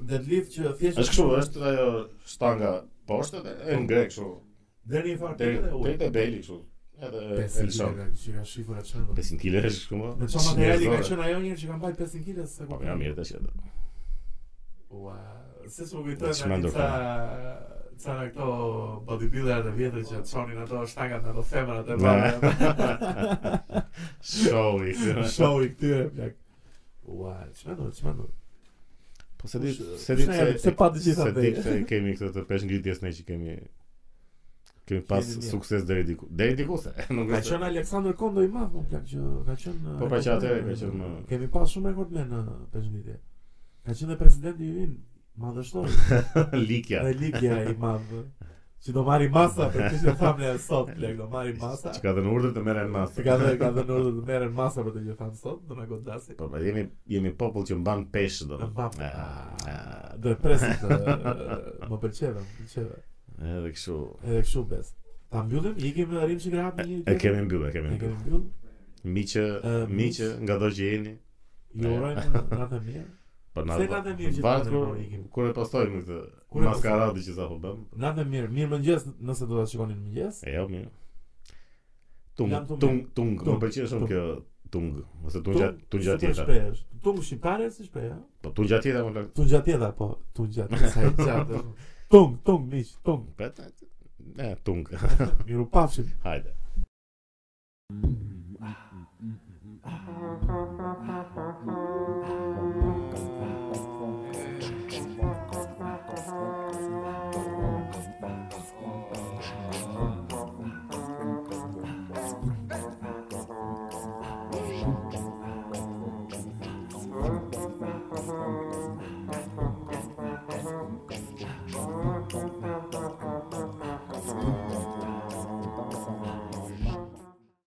S2: deadlift që thjesht
S1: Është kështu, është ajo shtanga poshtë dhe e ngre kështu.
S2: deri në fakt
S1: Deri
S2: e ul.
S1: deri te beli kështu. Edhe elshon.
S2: që ka shifër e çmendon.
S1: 500 kg është kështu po. më.
S2: Me çfarë materiali ka qenë ajo njërë që ka mbajt 500 kg se
S1: Po ja mirë tash atë.
S2: Ua, se s'u
S1: Dhe
S2: kujtojnë
S1: çmendur
S2: atë ca ca në këto bodybuilderat e vjetër që çonin ato shtangat në ato femrat e mëdha.
S1: Showi. *laughs*
S2: Show i këtyre plak. Ua, çmendur, çmendur.
S1: Po se di,
S2: Kush-
S1: se di
S2: kush na
S1: se
S2: jep- se pa të gjitha
S1: Se
S2: te.
S1: di se kemi këtë të pesh ngritjes ne që kemi kemi pas
S2: Kemi mirë.
S1: sukses deri diku. Deri diku se *laughs* nuk
S2: Ka
S1: është.
S2: qenë Aleksandr Kondo i madh, më plak që ka qenë
S1: Po, pra që atëherë ka qenë më-
S2: Kemi pas shumë rekordmen në peshngritje. Ka qenë dhe presidenti i ynë, madhështor,
S1: *laughs* Likja.
S2: dhe Libja i madh. Që do marri masa për këtë që thamë ne sot, plak, do marri masa.
S1: Që ka dhënë urdhër të merren masë.
S2: Se ka dhe ka dhe në urdhër të merren masa për të që thamë sot, do na godasi.
S1: Po pra jemi jemi popull që mban peshë do.
S2: Në mapë.
S1: Ah, ah.
S2: Do e presim të më pëlqeve, më pëlqeve.
S1: *laughs* Edhe kështu.
S2: Edhe kështu bes. Ta mbyllim, ikim në rrim që grahat me një
S1: E kemi mbyllë, e kemi
S2: E
S1: mbyllë.
S2: kemi mbyll.
S1: Miqë,
S2: Eh,
S1: miqë, nga do që jeni.
S2: Ju urojmë natë e mirë.
S1: Po
S2: Se natë e mirë që
S1: Varet
S2: natë e
S1: kur-
S2: mirë ikim.
S1: kur e postojmë këtë
S2: Kur e postojmë.
S1: maskaradë që sa po bëm.
S2: Natë e mirë, mirë mëngjes nëse do ta shikoni në mëngjes.
S1: E jo mirë. Tung,
S2: Jam tung.
S1: tung, tung, më
S2: Tung,
S1: pëlqen shumë
S2: tung.
S1: kjo tung, ose tungja, tungja
S2: super
S1: tjeta.
S2: shprehje është. Tung shqiptare si shprehje? ha?
S1: Po tungja tjeta më lëk.
S2: Tungja tjeta po, tungja tjeta. Sa e gjatë.
S1: *laughs*
S2: është. Tung, tung miq, tung.
S1: E, tung. *laughs*
S2: Miru pafshim.
S1: Hajde.